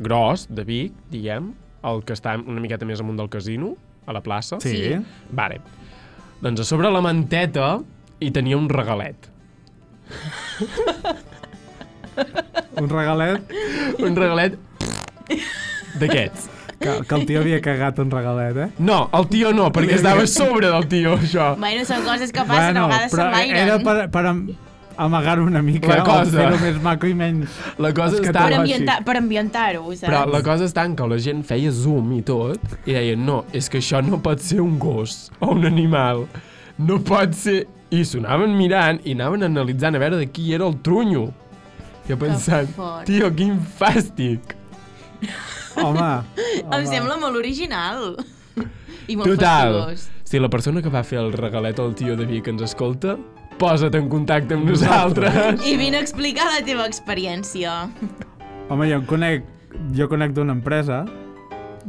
Speaker 2: gros de Vic, diguem, el que està una miqueta més amunt del casino, a la plaça.
Speaker 1: Sí. Sí.
Speaker 2: Vale. Doncs a sobre la manteta hi tenia un regalet.
Speaker 1: Un regalet
Speaker 2: Un regalet d'aquests.
Speaker 1: que, que el tio havia cagat un regalet, eh?
Speaker 2: No, el tio no, perquè estava a sobre del tio, això.
Speaker 3: Bueno, són coses que passen, a vegades
Speaker 1: però
Speaker 3: s'enlairen.
Speaker 1: era per, per am- amagar una mica
Speaker 2: La cosa.
Speaker 1: o fer-ho més maco i menys...
Speaker 2: La cosa
Speaker 1: És que
Speaker 2: està...
Speaker 1: tu-
Speaker 3: Per,
Speaker 1: Ah,
Speaker 3: ambientar, per ambientar-ho, saps?
Speaker 2: Però la cosa està en que la gent feia zoom i tot, i deien, no, és que això no pot ser un gos o un animal. No pot ser... I s'ho anaven mirant i anaven analitzant a veure de qui era el trunyo. I he pensat,
Speaker 3: fort.
Speaker 2: tio, quin fàstic.
Speaker 1: Home,
Speaker 3: Em sembla molt original. I molt
Speaker 2: Total.
Speaker 3: fastigós.
Speaker 2: Si la persona que va fer el regalet al tio de Vic ens escolta, posa't en contacte amb
Speaker 1: Nosaltres.
Speaker 2: nosaltres.
Speaker 3: I vine a explicar la teva experiència.
Speaker 1: home, jo en conec, jo conec d'una empresa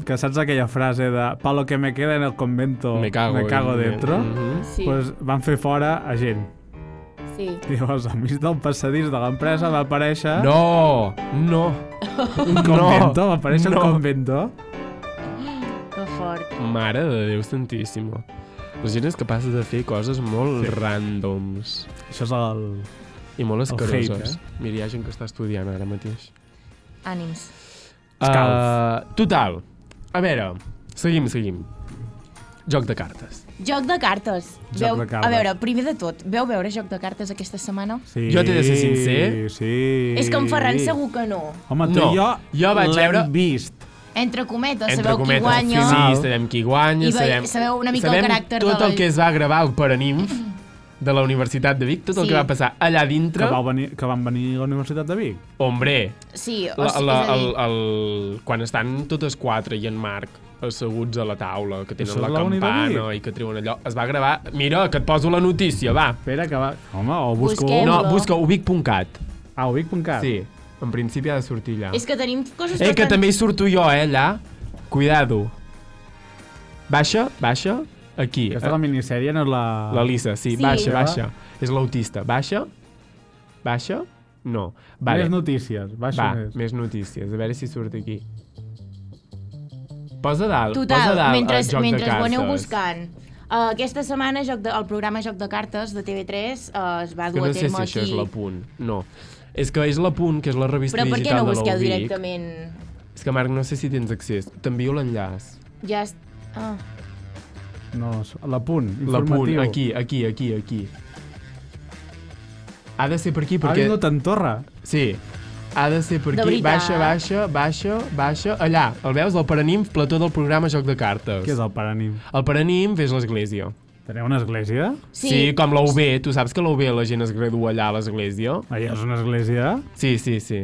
Speaker 1: que saps aquella frase de pa lo que me queda en el convento
Speaker 2: Me cago,
Speaker 1: me cago
Speaker 2: en-
Speaker 1: dentro,
Speaker 2: Mhm.
Speaker 3: Sí,
Speaker 1: pues van fer fora a gent.
Speaker 3: sí.
Speaker 1: I llavors, al mig del passadís de l'empresa va aparèixer
Speaker 2: No, no,
Speaker 1: un convento, va aparèixer
Speaker 2: no.
Speaker 1: un convento.
Speaker 3: Que fort.
Speaker 2: Mare de Déu Santíssima. La gent és capaç de fer coses molt sí. ràndoms
Speaker 1: Això és el...
Speaker 2: i molt
Speaker 1: El hate,
Speaker 2: escaroses. Eh? Mira, hi ha gent que està estudiant ara mateix.
Speaker 3: Ànims.
Speaker 2: Uh, total. A veure, seguim, seguim. Joc de cartes.
Speaker 3: Joc de cartes.
Speaker 1: Joc de cartes.
Speaker 3: A veure, primer de tot, veu veure Joc de cartes aquesta setmana?
Speaker 1: Sí,
Speaker 2: Jo t'he de ser sincer.
Speaker 1: Sí.
Speaker 3: És que en Ferran segur que no.
Speaker 1: Home, tu
Speaker 2: No,
Speaker 1: i jo,
Speaker 2: jo vaig
Speaker 1: l'hem
Speaker 2: veure-
Speaker 1: vist.
Speaker 3: Entre cometes,
Speaker 2: Entre
Speaker 3: sabeu
Speaker 2: cometes,
Speaker 3: qui guanya.
Speaker 2: Sí,
Speaker 1: final.
Speaker 2: sabem qui guanya,
Speaker 3: I vei-
Speaker 2: sabem...
Speaker 3: sabeu una mica el
Speaker 2: sabem
Speaker 3: caràcter de
Speaker 2: tot
Speaker 3: la-
Speaker 2: el que es va gravar al Paranimf de la Universitat de Vic, tot el
Speaker 3: Sí.
Speaker 2: que va passar allà dintre.
Speaker 1: Que, vau venir, que van venir a la Universitat de Vic.
Speaker 2: Hombre,
Speaker 3: Sí, o
Speaker 2: La,
Speaker 3: sigui,
Speaker 2: la,
Speaker 3: és a
Speaker 2: el,
Speaker 3: dir,
Speaker 2: el, quan estan totes quatre i en Marc asseguts a la taula, que tenen
Speaker 1: Això és
Speaker 2: la,
Speaker 1: la Uni de
Speaker 2: campana i que treuen allò, es va gravar... Mira, que et poso la notícia, va.
Speaker 1: Espera, que va... Home, o busco...
Speaker 3: Busquem.
Speaker 2: No,
Speaker 3: Sembla.
Speaker 2: busca ubic.cat.
Speaker 1: Ah, ho vic.cat.
Speaker 2: Sí, en principi ha de sortir allà.
Speaker 3: és que tenim coses
Speaker 2: Eh, que
Speaker 3: bastant-
Speaker 2: també hi surto jo, eh, allà. Cuidado. Baixa, baixa, aquí.
Speaker 1: Aquesta és
Speaker 2: Eh,
Speaker 1: la minissèrie, no és la...
Speaker 2: La Lisa, sí,
Speaker 3: Sí.
Speaker 2: baixa,
Speaker 3: Ah.
Speaker 2: baixa. És l'autista. Baixa, baixa, no. Vale.
Speaker 1: Més notícies. Baixa
Speaker 2: Va,
Speaker 1: més.
Speaker 2: més notícies, a veure si surt aquí. Posa dalt, posa
Speaker 3: Total,
Speaker 2: dalt
Speaker 3: mentre,
Speaker 2: el joc
Speaker 3: mentre
Speaker 2: de
Speaker 3: ho
Speaker 2: cartes.
Speaker 3: aneu buscant. Uh, aquesta setmana joc de, el programa Joc de Cartes de TV3 uh, es va
Speaker 2: És Que
Speaker 3: dur a
Speaker 2: no sé
Speaker 3: terme
Speaker 2: si això
Speaker 3: aquí.
Speaker 2: és la punt. No. És que és la punt, que és la revista
Speaker 3: Però per què
Speaker 2: digital
Speaker 3: no
Speaker 2: de
Speaker 3: busqueu
Speaker 2: l'Ubic.
Speaker 3: directament?
Speaker 2: És que, Marc, no sé si tens accés. T'envio l'enllaç.
Speaker 3: Ja... es- Ah.
Speaker 1: No, la punt.
Speaker 2: La punt,
Speaker 1: informatiu.
Speaker 2: aquí, aquí, aquí, aquí. Ha de ser per aquí,
Speaker 1: Ha
Speaker 2: perquè...
Speaker 1: vingut en Torra.
Speaker 2: Sí. Ha de ser per
Speaker 3: De
Speaker 2: aquí.
Speaker 3: veritat.
Speaker 2: Baixa, baixa, baixa, baixa. Allà, el veus? El paranim, plató del programa Joc de Cartes.
Speaker 1: Què és el paranim?
Speaker 2: El paranim és l'església.
Speaker 1: Teniu una església?
Speaker 3: Sí.
Speaker 2: Sí, sí com la UB, tu saps que la UB la gent es gradua allà a l'església?
Speaker 1: Allà és una església?
Speaker 2: Sí, sí, sí.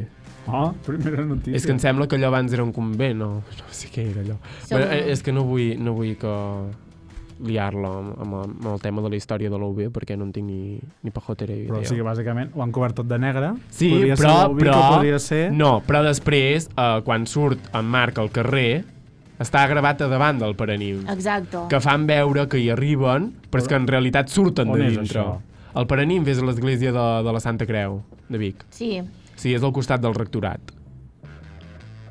Speaker 1: Oh, primera notícia.
Speaker 2: És que em sembla que allò abans era un convent, no, no sé què era allò.
Speaker 3: Som-
Speaker 2: Però, eh, és que no vull, no vull que liar-la amb, amb, amb el tema de la història de la UB perquè no en tinc ni, ni pajotera idea.
Speaker 1: Però o sigui, bàsicament, ho han cobert tot de negre.
Speaker 2: Sí,
Speaker 1: podria
Speaker 2: però,
Speaker 1: ser l'Ubic,
Speaker 2: però,
Speaker 1: o podria ser...
Speaker 2: no, però després, eh, quan surt en Marc al carrer, està gravat a davant del paranim.
Speaker 3: Exacte.
Speaker 2: que fan veure que hi arriben, però és que en realitat surten
Speaker 1: On
Speaker 2: de
Speaker 1: és
Speaker 2: dintre.
Speaker 1: això?
Speaker 2: El Paranim és a l'església de, de la Santa Creu, de Vic.
Speaker 3: Sí.
Speaker 2: Sí, és al costat del rectorat.
Speaker 1: Mm,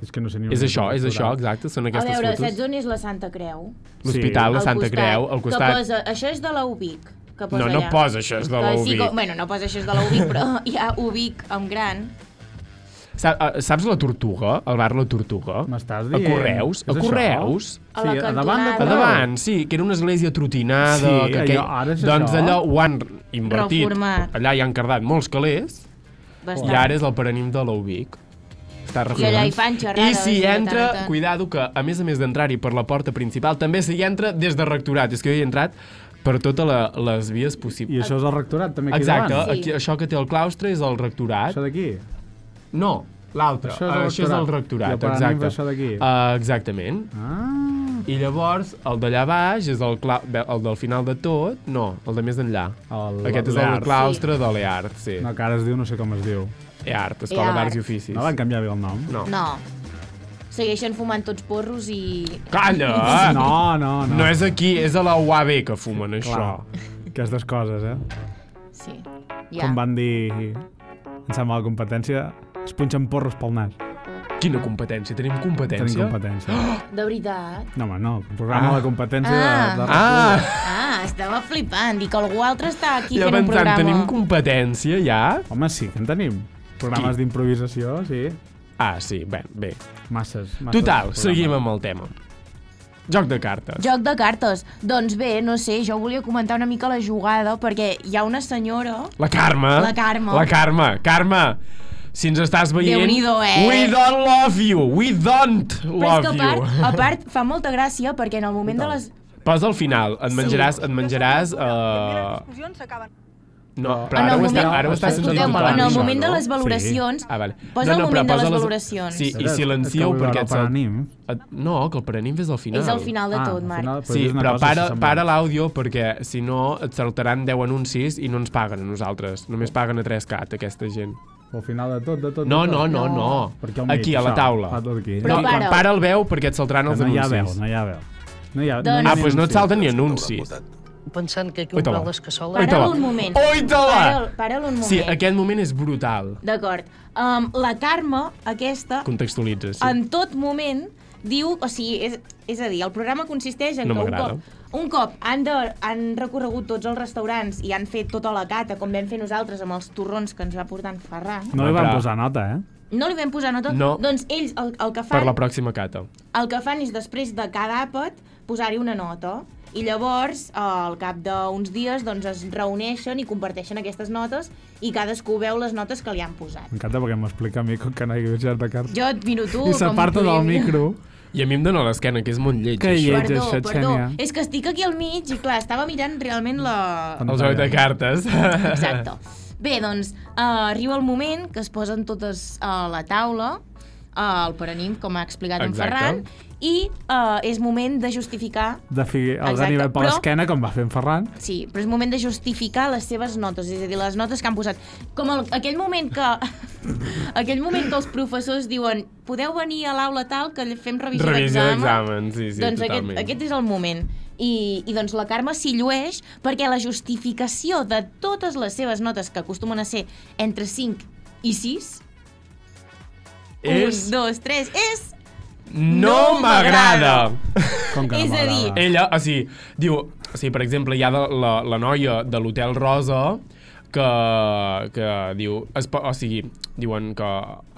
Speaker 1: És que no sé ni...
Speaker 2: és això, és això, exacte, són
Speaker 3: A
Speaker 2: aquestes
Speaker 3: veure, saps
Speaker 2: fotos.
Speaker 3: on és la Santa Creu?
Speaker 2: L'hospital, la
Speaker 3: Al
Speaker 2: Santa
Speaker 3: costat,
Speaker 2: Creu, al costat...
Speaker 3: Que posa, això és de la UBIC. Que posa
Speaker 2: No, no
Speaker 3: allà.
Speaker 2: posa això, és de
Speaker 3: Que
Speaker 2: la
Speaker 3: Sí,
Speaker 2: UBIC.
Speaker 3: que, bueno, no posa això és de la UBIC, però hi ha UBIC amb gran.
Speaker 2: Sa- eh, Saps la Tortuga? El bar La Tortuga?
Speaker 1: M'estàs
Speaker 2: A
Speaker 1: dient?
Speaker 2: Correus?
Speaker 1: És
Speaker 2: A
Speaker 1: això?
Speaker 2: Correus?
Speaker 3: A la
Speaker 1: Sí, a davant de
Speaker 3: cantonada.
Speaker 2: A davant, sí, que era una església trotinada.
Speaker 1: Sí,
Speaker 2: que
Speaker 1: allò, ara és
Speaker 2: doncs
Speaker 1: això.
Speaker 2: allò ho han invertit.
Speaker 3: Reformat.
Speaker 2: Allà hi han cardat molts calés
Speaker 3: Bastant.
Speaker 2: i ara és el peranim de l'Ubic. Està reformat.
Speaker 3: allà hi fan xerrades,
Speaker 2: I si
Speaker 3: i de
Speaker 2: entra,
Speaker 3: tant en tant.
Speaker 2: cuidado, que a més a més d'entrar-hi per la porta principal, també s'hi entra des de rectorat. És que jo hi he entrat per totes les vies
Speaker 1: I
Speaker 2: possibles.
Speaker 1: això és el rectorat, també, aquí
Speaker 2: Exacte,
Speaker 1: davant.
Speaker 2: aquí, això que té el claustre és el rectorat.
Speaker 1: Això d'aquí.
Speaker 2: No, l'altre.
Speaker 1: Això és el
Speaker 2: Això és el
Speaker 1: rectorat. I el
Speaker 2: rectorat,
Speaker 1: peranim
Speaker 2: exacte.
Speaker 1: d'això d'aquí.
Speaker 2: Uh, exactament.
Speaker 1: Ah,
Speaker 2: I llavors, el d'allà baix és el, cla... bé, el del final de tot, no, el de més enllà.
Speaker 1: El-
Speaker 2: Aquest és
Speaker 1: l'Eart.
Speaker 2: el claustre sí. de l'EART, sí.
Speaker 1: no, que ara es diu, no sé com es diu.
Speaker 2: EART, Escola
Speaker 3: Eart.
Speaker 2: d'Arts i Oficis.
Speaker 1: No van canviar bé el nom?
Speaker 2: No.
Speaker 3: No. Segueixen fumant tots porros i...
Speaker 2: Calla! No.
Speaker 1: No, no, no.
Speaker 2: Ah. no és aquí, és a la UAB que fumen
Speaker 1: Clar,
Speaker 2: això.
Speaker 1: aquestes coses, eh?
Speaker 3: Sí.
Speaker 1: Ja.
Speaker 3: Ja.
Speaker 1: Com van dir, em sembla, la competència, es punxen porros pel nas.
Speaker 2: Quina competència? Tenim competència?
Speaker 1: Tenim competència.
Speaker 3: De veritat.
Speaker 1: No, home, no. El programa
Speaker 2: Ah.
Speaker 1: de la competència de, de...
Speaker 2: Ah,
Speaker 3: Ah, estava flipant. Dic, algú altre està aquí
Speaker 2: ja
Speaker 3: fent un
Speaker 2: pensant,
Speaker 3: programa.
Speaker 2: tenim competència ja?
Speaker 1: Home, sí, que en tenim. Programes d'improvisació, sí.
Speaker 2: Ah, sí, bé, bé.
Speaker 1: Masses, masses.
Speaker 2: Total,
Speaker 1: programes.
Speaker 2: seguim amb el tema. Joc de cartes.
Speaker 3: Joc de cartes. Doncs bé, no sé, jo volia comentar una mica la jugada, perquè hi ha una senyora...
Speaker 2: La Carme.
Speaker 3: La Carme.
Speaker 2: La Carme. Carme, si ens estàs veient...
Speaker 3: Déu-n'hi-do, eh?
Speaker 2: We don't love you. We don't
Speaker 3: Però és
Speaker 2: love
Speaker 3: que a part,
Speaker 2: you.
Speaker 3: a part fa molta gràcia perquè en el moment de les...
Speaker 2: Posa al final. Et menjaràs... Et menjaràs... Uh...
Speaker 5: discussions s'acaben.
Speaker 2: No,
Speaker 1: En
Speaker 2: però ara
Speaker 1: el
Speaker 2: ho, està,
Speaker 1: moment-
Speaker 2: ara ho està sentint
Speaker 1: Escolteu-me,
Speaker 2: tothom,
Speaker 3: en el
Speaker 1: això,
Speaker 3: moment de
Speaker 2: no?
Speaker 3: les valoracions...
Speaker 2: Ah, vale.
Speaker 3: Posa el moment de
Speaker 2: posa
Speaker 3: les valoracions.
Speaker 2: Sí, i
Speaker 1: Espera, és
Speaker 2: silencieu
Speaker 1: que vull
Speaker 2: perquè
Speaker 1: veure
Speaker 2: et
Speaker 1: el
Speaker 2: sal...
Speaker 1: Paranim.
Speaker 2: Et... No, que el Paranim és al final.
Speaker 3: Ah, És al final de tot,
Speaker 1: Ah, al
Speaker 3: Marc.
Speaker 1: final,
Speaker 2: Sí,
Speaker 1: és una
Speaker 2: però
Speaker 1: cosa
Speaker 2: para,
Speaker 1: semblant.
Speaker 2: para l'àudio perquè, si no, et saltaran 10 anuncis i no ens paguen a nosaltres. Només paguen a 3CAT, aquesta gent.
Speaker 1: Al final de tot, de tot.
Speaker 2: No,
Speaker 1: de tot.
Speaker 2: no, no, no.
Speaker 1: Per què al mig,
Speaker 2: Aquí, a la
Speaker 1: això?
Speaker 2: taula.
Speaker 1: Fa tot aquí.
Speaker 2: Però
Speaker 3: Però
Speaker 2: no, para.
Speaker 3: para-ho.
Speaker 2: para el veu perquè et saltaran els
Speaker 1: no hi ha veu,
Speaker 2: anuncis.
Speaker 1: no hi ha veu. No hi ha,
Speaker 3: Doncs-
Speaker 1: hi ha
Speaker 2: Ah, doncs no et
Speaker 1: anuncis.
Speaker 2: salten ni anuncis.
Speaker 6: pensant que aquí
Speaker 2: Ui,
Speaker 6: un
Speaker 2: te
Speaker 6: pal
Speaker 2: la.
Speaker 6: d'escassola...
Speaker 2: Ui, te
Speaker 3: Para'l
Speaker 2: la.
Speaker 3: un moment.
Speaker 2: Ui, te la.
Speaker 3: Para'l, para'l un moment.
Speaker 2: Sí, aquest moment és brutal.
Speaker 3: D'acord. Um, la Carme, aquesta,
Speaker 2: Contextualitza, sí.
Speaker 3: en tot moment diu, o sigui, és, és a dir, el programa consisteix en
Speaker 2: No
Speaker 3: que un
Speaker 2: m'agrada.
Speaker 3: cop, un cop han, de, han recorregut tots els restaurants i han fet tota la cata, com vam fer nosaltres amb els torrons que ens va portar en Ferran,
Speaker 1: No li
Speaker 2: Però-
Speaker 1: van posar nota, eh?
Speaker 3: no li vam posar nota,
Speaker 2: No.
Speaker 3: doncs ells el, el, que
Speaker 2: Per
Speaker 3: fan,
Speaker 2: la pròxima cata.
Speaker 3: el que fan és després de cada àpat posar-hi una nota i llavors, eh, al cap d'uns dies, doncs es reuneixen i comparteixen aquestes notes i cadascú veu les notes que li han posat.
Speaker 1: M'encanta perquè m'explica a mi com que no hi havia gent de carta.
Speaker 3: Jo et miro tu...
Speaker 1: I
Speaker 3: com
Speaker 1: s'aparta del
Speaker 3: podríem dir.
Speaker 1: micro.
Speaker 2: I a mi em dóna l'esquena, que és molt lleig,
Speaker 1: Que
Speaker 2: això.
Speaker 1: lleig.
Speaker 3: Perdó,
Speaker 1: això,
Speaker 3: perdó.
Speaker 1: Xènia.
Speaker 3: És que estic aquí al mig i, clar, estava mirant realment la...
Speaker 2: El joc de cartes.
Speaker 3: Exacte. Bé, doncs, eh, arriba el moment que es posen totes a la taula, eh, el paranim, com ha explicat en
Speaker 2: Exacte.
Speaker 3: Ferran, i eh, és moment de justificar...
Speaker 1: De fi, el
Speaker 3: Exacte,
Speaker 1: ganivet per
Speaker 3: però-
Speaker 1: l'esquena, com va fer en Ferran.
Speaker 3: Sí, però és moment de justificar les seves notes, és a dir, les notes que han posat. Com el, aquell moment que... aquell moment que els professors diuen podeu venir a l'aula tal que fem revisió
Speaker 2: Revisió
Speaker 3: d'examen.
Speaker 2: d'examen, sí, sí,
Speaker 3: doncs aquest,
Speaker 2: totalment.
Speaker 3: aquest és el moment. I, I doncs la Carme s'hi llueix perquè la justificació de totes les seves notes, que acostumen a ser entre 5 i 6,
Speaker 2: És...
Speaker 3: 1, 2, 3, és...
Speaker 2: No
Speaker 3: No
Speaker 2: m'agrada!
Speaker 1: Com que
Speaker 3: És
Speaker 1: no
Speaker 3: a
Speaker 1: m'agrada?
Speaker 3: dir-
Speaker 2: Ella, o sigui, diu... O sigui, per exemple, hi ha de- la, la noia de l'Hotel Rosa que, que diu... Es, po- o sigui, diuen que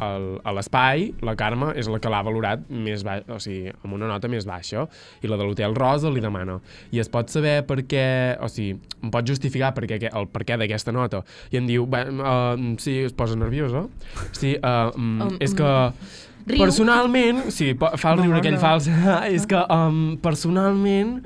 Speaker 2: el, a l'espai la Carme és la que l'ha valorat més ba... o sigui, amb una nota més baixa i la de l'Hotel Rosa li demana i es pot saber per què... O sigui, em pot justificar per què, el per què d'aquesta nota i em diu, bé, uh, sí, es posa nerviosa sí, uh,
Speaker 3: Um,
Speaker 2: um, és
Speaker 3: um.
Speaker 2: que...
Speaker 3: Riu.
Speaker 2: Personalment, sí, po- fa el
Speaker 1: no,
Speaker 2: riure aquell
Speaker 1: no.
Speaker 2: fa els- és que um, personalment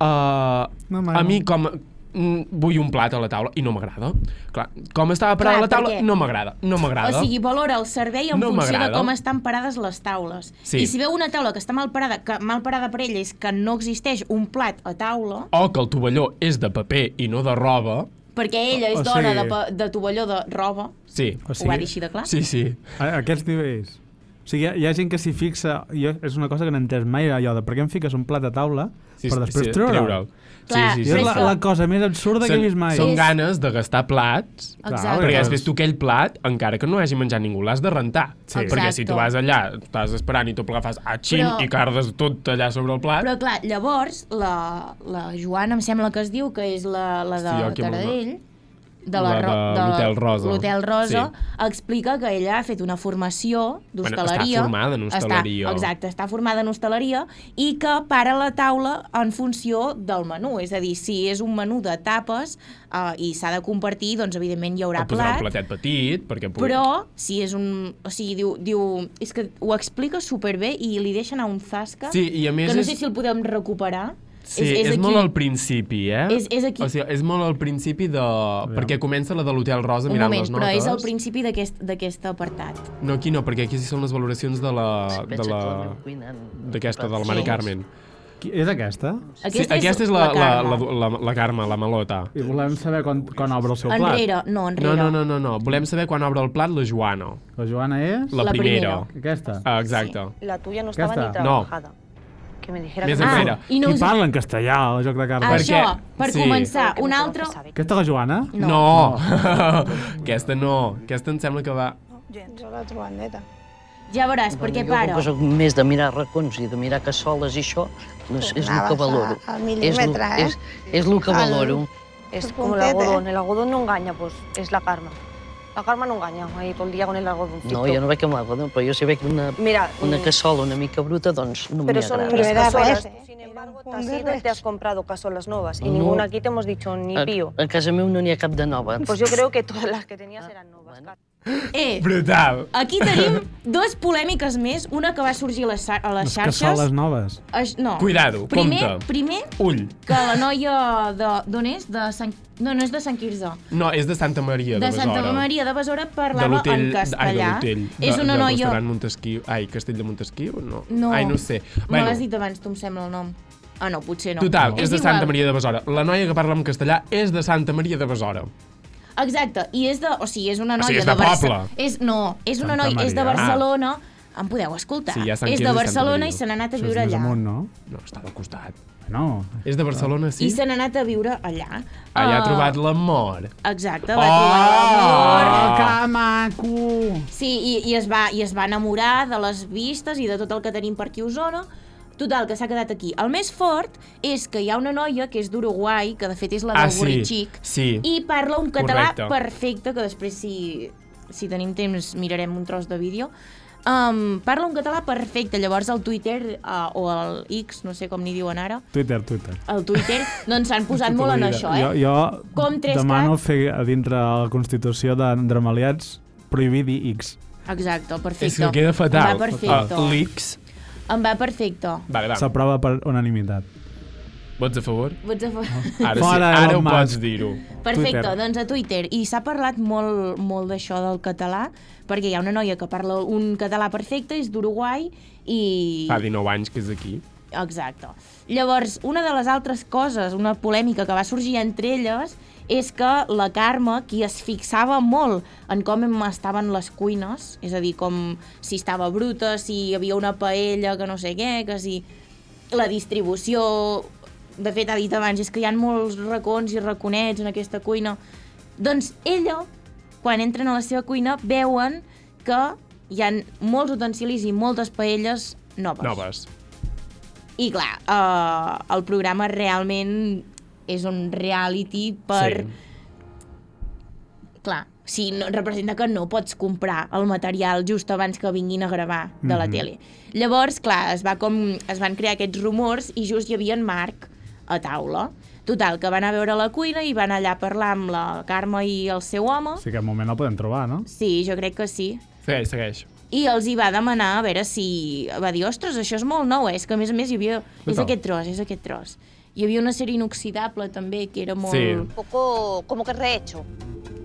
Speaker 2: uh,
Speaker 1: No,
Speaker 2: a
Speaker 1: mare.
Speaker 2: mi com mm, vull un plat a la taula i no m'agrada. Clar, com estava parada a
Speaker 3: Clar,
Speaker 2: la taula,
Speaker 3: perquè-
Speaker 2: no m'agrada, no m'agrada.
Speaker 3: O sigui, valora el servei en
Speaker 2: No
Speaker 3: funció de
Speaker 2: m'agrada.
Speaker 3: com estan parades les taules.
Speaker 2: Sí.
Speaker 3: I si veu una taula que està mal parada, que mal parada per ella és que no existeix un plat a taula,
Speaker 2: O que el tovalló és de paper i no de roba,
Speaker 3: perquè ella és
Speaker 1: O
Speaker 3: dona
Speaker 1: sigui-
Speaker 3: de, pa- de tovalló de roba,
Speaker 2: Oh, sí.
Speaker 1: O
Speaker 3: ho va dir així de clar,
Speaker 2: Sí, sí.
Speaker 1: A, a aquests nivells. O sigui, hi ha, hi ha gent que s'hi fixa... Jo, és una cosa que no he entès mai, allò de per què em fiques un plat a taula
Speaker 2: sí
Speaker 1: per
Speaker 2: sí,
Speaker 1: després
Speaker 2: sí,
Speaker 1: treure'l.
Speaker 2: treure'l.
Speaker 3: Clar,
Speaker 2: Sí, sí,
Speaker 1: I
Speaker 2: sí.
Speaker 1: és
Speaker 3: Però
Speaker 1: la,
Speaker 3: això-
Speaker 1: la cosa més absurda que he vist mai.
Speaker 2: són
Speaker 3: És-
Speaker 2: ganes de gastar plats
Speaker 3: Exacte.
Speaker 2: Perquè
Speaker 1: Doncs-
Speaker 2: després tu aquell plat, encara que no hagi menjat ningú, l'has de rentar.
Speaker 1: Sí.
Speaker 2: Perquè si
Speaker 3: Exacte.
Speaker 2: tu vas allà, estàs esperant i tu agafes a xin
Speaker 3: Però-
Speaker 2: i cardes tot allà sobre el plat...
Speaker 3: Però clar, llavors, la, la Joana em sembla que es diu, que és la, la de
Speaker 2: Hòstia, que
Speaker 3: Taradell, de la
Speaker 2: La
Speaker 3: Ro-
Speaker 2: de
Speaker 3: de
Speaker 2: l'Hotel Rosa.
Speaker 3: l'Hotel Rosa,
Speaker 2: Sí.
Speaker 3: explica que ella ha fet una formació
Speaker 2: Bueno,
Speaker 3: d'hostaleria.
Speaker 2: està formada en hostaleria.
Speaker 3: Està, exacte, està formada en hostaleria i que para la taula en funció del menú. És a dir, si és un menú de tapes eh, i s'ha de compartir, doncs evidentment hi haurà
Speaker 2: Et posarà
Speaker 3: plat.
Speaker 2: un platet petit, perquè... pugui-
Speaker 3: Però, si és un... O sigui, diu, diu... És que ho explica superbé i li deixa anar un zasca.
Speaker 2: Sí, i a més
Speaker 3: Que no
Speaker 2: és-
Speaker 3: sé si el podem recuperar.
Speaker 2: Sí, és, és, és molt al principi, eh?
Speaker 3: És- és aquí.
Speaker 2: O sigui, és molt al principi de... Perquè comença la de l'Hotel Rosa
Speaker 3: Un
Speaker 2: mirant
Speaker 3: moment,
Speaker 2: les notes.
Speaker 3: però és al principi d'aquest d'aquest apartat.
Speaker 2: No, aquí no, perquè aquí sí són les valoracions de la... Ah, de la... d'aquesta, del Mari
Speaker 3: Sí.
Speaker 2: Carmen.
Speaker 1: Qui- És aquesta?
Speaker 2: sí, aquesta és la, la, la, la, la, la Carme, la malota.
Speaker 1: I volem saber quan, quan obre el seu
Speaker 3: Carme.
Speaker 1: plat.
Speaker 3: Enrere, no,
Speaker 2: No,
Speaker 3: enrere.
Speaker 2: no, no, no, no. Volem saber quan obre el plat la Joana.
Speaker 1: La Joana és?
Speaker 2: La,
Speaker 3: La
Speaker 2: primera.
Speaker 3: primera.
Speaker 1: Aquesta.
Speaker 2: Ah, exacte.
Speaker 5: La tuya no
Speaker 1: Ya
Speaker 5: estaba ni
Speaker 1: está.
Speaker 2: No.
Speaker 5: trabajada. Que me dijera
Speaker 2: Més
Speaker 5: que
Speaker 3: Ah,
Speaker 2: enrere.
Speaker 3: i no
Speaker 1: Qui
Speaker 3: us... Ah,
Speaker 1: parla en castellà al joc de cartes?
Speaker 2: Perquè-
Speaker 3: Això, per
Speaker 2: sí.
Speaker 3: començar,
Speaker 5: Que me
Speaker 3: un
Speaker 5: conoce,
Speaker 3: altre...
Speaker 5: sabe que-
Speaker 1: Aquesta la Joana?
Speaker 2: No. no. aquesta no. Aquesta em sembla que va...
Speaker 5: Jo la Joaneta.
Speaker 3: Ja veuràs, perquè
Speaker 6: jo
Speaker 3: para.
Speaker 6: com que soc més de mirar racons i de mirar cassoles i això, doncs és el que
Speaker 5: Tornaves
Speaker 6: valoro.
Speaker 5: a- al
Speaker 6: És el,
Speaker 5: mil·límetre, eh?
Speaker 6: és, és el que
Speaker 5: Al-
Speaker 6: valoro.
Speaker 5: Es
Speaker 7: Tu
Speaker 5: como el
Speaker 7: puntete.
Speaker 5: algodón. El algodón no engaña, pues es la karma. La karma no engaña. Ahí todo el día con el algodón.
Speaker 6: No, jo no veig amb l'algodre, però jo si veig una,
Speaker 5: Mira,
Speaker 6: una
Speaker 5: mm,
Speaker 6: cassola una mica bruta, doncs no m'hi
Speaker 5: pero son
Speaker 6: agrada.
Speaker 5: unas
Speaker 7: era
Speaker 5: casolas.
Speaker 7: res, ¿eh?
Speaker 5: Sin
Speaker 7: Era
Speaker 5: embargo,
Speaker 7: un
Speaker 5: te has
Speaker 7: de
Speaker 5: ido y te
Speaker 7: res.
Speaker 5: has comprado casolas nuevas. Y
Speaker 6: No.
Speaker 5: ninguna aquí te hemos dicho ni pío.
Speaker 6: A, a casa meu no n'hi ha cap de nova.
Speaker 5: Pues yo creo que todas las que tenías eran nuevas.
Speaker 6: Ah, Bueno.
Speaker 3: Eh,
Speaker 2: Brutal!
Speaker 3: aquí tenim dues polèmiques més. Una que va sorgir a les, xar- a les
Speaker 1: Les
Speaker 3: xarxes.
Speaker 1: cassoles noves.
Speaker 3: Aix- No.
Speaker 2: Cuidado,
Speaker 3: primer,
Speaker 2: compte.
Speaker 3: Primer,
Speaker 2: Ull.
Speaker 3: que la noia de... D'on és? De Sant... No, no és de Sant Quirze.
Speaker 2: No, és de Santa Maria, de,
Speaker 3: De Santa
Speaker 2: Besora.
Speaker 3: Maria de Besora
Speaker 2: de
Speaker 3: parlava
Speaker 2: l'hotel...
Speaker 3: en castellà.
Speaker 2: Ai, de l'hotel.
Speaker 3: és
Speaker 2: de-
Speaker 3: una
Speaker 2: del
Speaker 3: noia...
Speaker 2: restaurant Montesquieu. Ai, Castell de Montesquieu? No.
Speaker 3: No.
Speaker 2: Ai, no ho sé.
Speaker 3: Me l'has dit abans, tu em sembla el nom. Ah, no, potser no.
Speaker 2: Total, és, de
Speaker 3: igual.
Speaker 2: Santa Maria de Besora. La noia que parla en castellà és de Santa Maria de Besora.
Speaker 3: Exacte, i és de... O sigui, és una
Speaker 2: O
Speaker 3: noia
Speaker 2: sigui, és de
Speaker 3: Barce-
Speaker 2: poble.
Speaker 3: És, no, és una
Speaker 1: Santa
Speaker 3: noia... És de
Speaker 1: Maria.
Speaker 3: Barcelona. Em podeu escoltar.
Speaker 2: Sí, hi ha Sant
Speaker 3: és
Speaker 2: Quirze i
Speaker 3: de
Speaker 2: Santa
Speaker 3: Barcelona
Speaker 2: Maria.
Speaker 3: i se n'ha anat a
Speaker 1: Això és
Speaker 3: viure
Speaker 1: més
Speaker 3: allà.
Speaker 1: amunt, no?
Speaker 2: No, està al costat.
Speaker 1: No.
Speaker 2: És de Barcelona, sí?
Speaker 3: I se n'ha anat a viure allà.
Speaker 2: Allà ha
Speaker 3: Ah,
Speaker 2: trobat Ah! l'amor.
Speaker 3: Exacte, va trobar l'amor.
Speaker 2: Ah.
Speaker 1: que maco!
Speaker 3: Sí, i, i, es va, i es va enamorar de les vistes i de tot el que tenim per aquí a Osona. Total, que s'ha quedat aquí. El més fort és que hi ha una noia que és d'Uruguai, que de fet és la
Speaker 2: Ah,
Speaker 3: del
Speaker 2: sí,
Speaker 3: Borrichic,
Speaker 2: sí.
Speaker 3: i parla un català
Speaker 2: Correcte.
Speaker 3: perfecte, que després, si, si tenim temps, mirarem un tros de vídeo. Um, parla un català perfecte, llavors al Twitter uh, o al X, no sé com n'hi diuen ara,
Speaker 1: Twitter, Twitter.
Speaker 3: al Twitter, doncs s'han posat
Speaker 2: Tota
Speaker 3: molt en això, eh?
Speaker 1: Jo, jo
Speaker 3: Com tres
Speaker 1: demano
Speaker 3: caps.
Speaker 1: fer a dintre la Constitució d'Andremaliats prohibir dir X.
Speaker 3: Exacte, perfecte.
Speaker 2: És que queda fatal.
Speaker 3: Em va perfecte.
Speaker 2: Ah, leaks.
Speaker 3: Em va perfecte.
Speaker 2: Vale, va.
Speaker 1: S'aprova per unanimitat.
Speaker 2: Vots a favor?
Speaker 3: Vots a fer...
Speaker 2: Ara
Speaker 1: Fora,
Speaker 2: sí, ara ho
Speaker 1: Elon
Speaker 2: pots
Speaker 1: Musk.
Speaker 2: dir-ho.
Speaker 3: Perfecte,
Speaker 1: Twitter.
Speaker 3: doncs a Twitter. I s'ha parlat molt, molt d'això del català, perquè hi ha una noia que parla un català perfecte, és d'Uruguai, i...
Speaker 2: Fa 19 anys que és aquí.
Speaker 3: Exacte. Llavors, una de les altres coses, una polèmica que va sorgir entre elles, és que la Carme, qui es fixava molt en com em- estaven les cuines, és a dir, com si estava bruta, si hi havia una paella, que no sé què, que si la distribució... De fet, ha dit abans, és que hi ha molts racons i raconets en aquesta cuina. Doncs ella, quan entren a la seva cuina, veuen que hi ha molts utensilis i moltes paelles noves.
Speaker 2: Noves.
Speaker 3: I clar, uh, el programa realment és un reality per...
Speaker 2: Sí.
Speaker 3: Sí. Clar, sí, no, representa que no pots comprar el material just abans que vinguin a gravar de la tele. Llavors, clar, es, va com, es van crear aquests rumors i just hi havia en Marc a taula. Total, que van a veure la cuina i van allà a parlar amb la Carme i el seu home. Sí,
Speaker 1: Sí que al moment el podem trobar, no?
Speaker 3: Ah. sí jo crec que sí.
Speaker 2: Segueix, segueix.
Speaker 3: I els hi va demanar a veure si... Va dir, ostres, això és molt nou, eh? És que a més a més hi havia... És
Speaker 2: Total.
Speaker 3: aquest tros, és aquest tros. Hi havia una sèrie inoxidable també, que era molt...
Speaker 2: Sí.
Speaker 5: Un poco como que rehecho.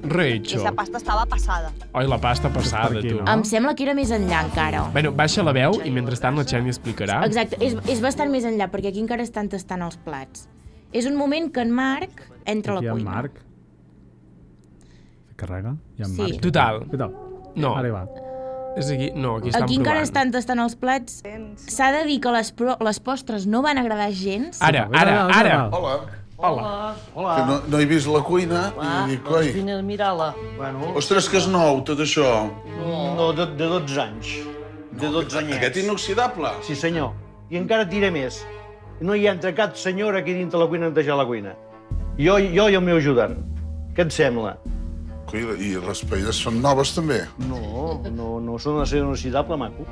Speaker 5: Y
Speaker 2: Rehecho.
Speaker 5: esa pasta estaba pasada.
Speaker 2: Ai, la pasta passada,
Speaker 1: aquí,
Speaker 2: tu.
Speaker 1: no?
Speaker 3: Em sembla que era més enllà encara.
Speaker 2: Bueno, baixa la veu i mentrestant la Xènia explicarà.
Speaker 3: Exacte, és, és bastant més enllà, perquè aquí encara estan tastant els plats. És un moment que en Marc entra a
Speaker 1: Aquí hi ha
Speaker 3: la
Speaker 1: en
Speaker 3: cuina.
Speaker 1: Marc. Se carrega? Hi ha en
Speaker 3: Sí.
Speaker 1: Marc.
Speaker 2: Total.
Speaker 1: Total.
Speaker 2: No.
Speaker 1: Ara hi va.
Speaker 2: És aquí... No, aquí estan
Speaker 3: Aquí encara
Speaker 2: provant.
Speaker 3: estan tastant els plats. S'ha de dir que les, pro... les postres no van agradar gens.
Speaker 2: Ara, ara,
Speaker 1: Vinga, va,
Speaker 2: Ah, ara.
Speaker 1: va, va.
Speaker 8: Hola,
Speaker 6: Hola.
Speaker 8: que no, no he vist la cuina
Speaker 6: Ah,
Speaker 8: i dic,
Speaker 6: doncs
Speaker 8: coi,
Speaker 6: vine a mirar-la.
Speaker 9: Bueno,
Speaker 8: ostres, que és nou tot això.
Speaker 9: no, de, de 12 anys. De 12 anyets.
Speaker 8: Aquest inoxidable.
Speaker 9: Sí, senyor. I encara et diré més. No hi entra cap senyora aquí dintre la cuina a netejar la cuina. Jo, jo i el meu ajudant. Què et sembla?
Speaker 8: Cuida, I les paelles són noves, també?
Speaker 9: No, no, no són una inoxidable, maco.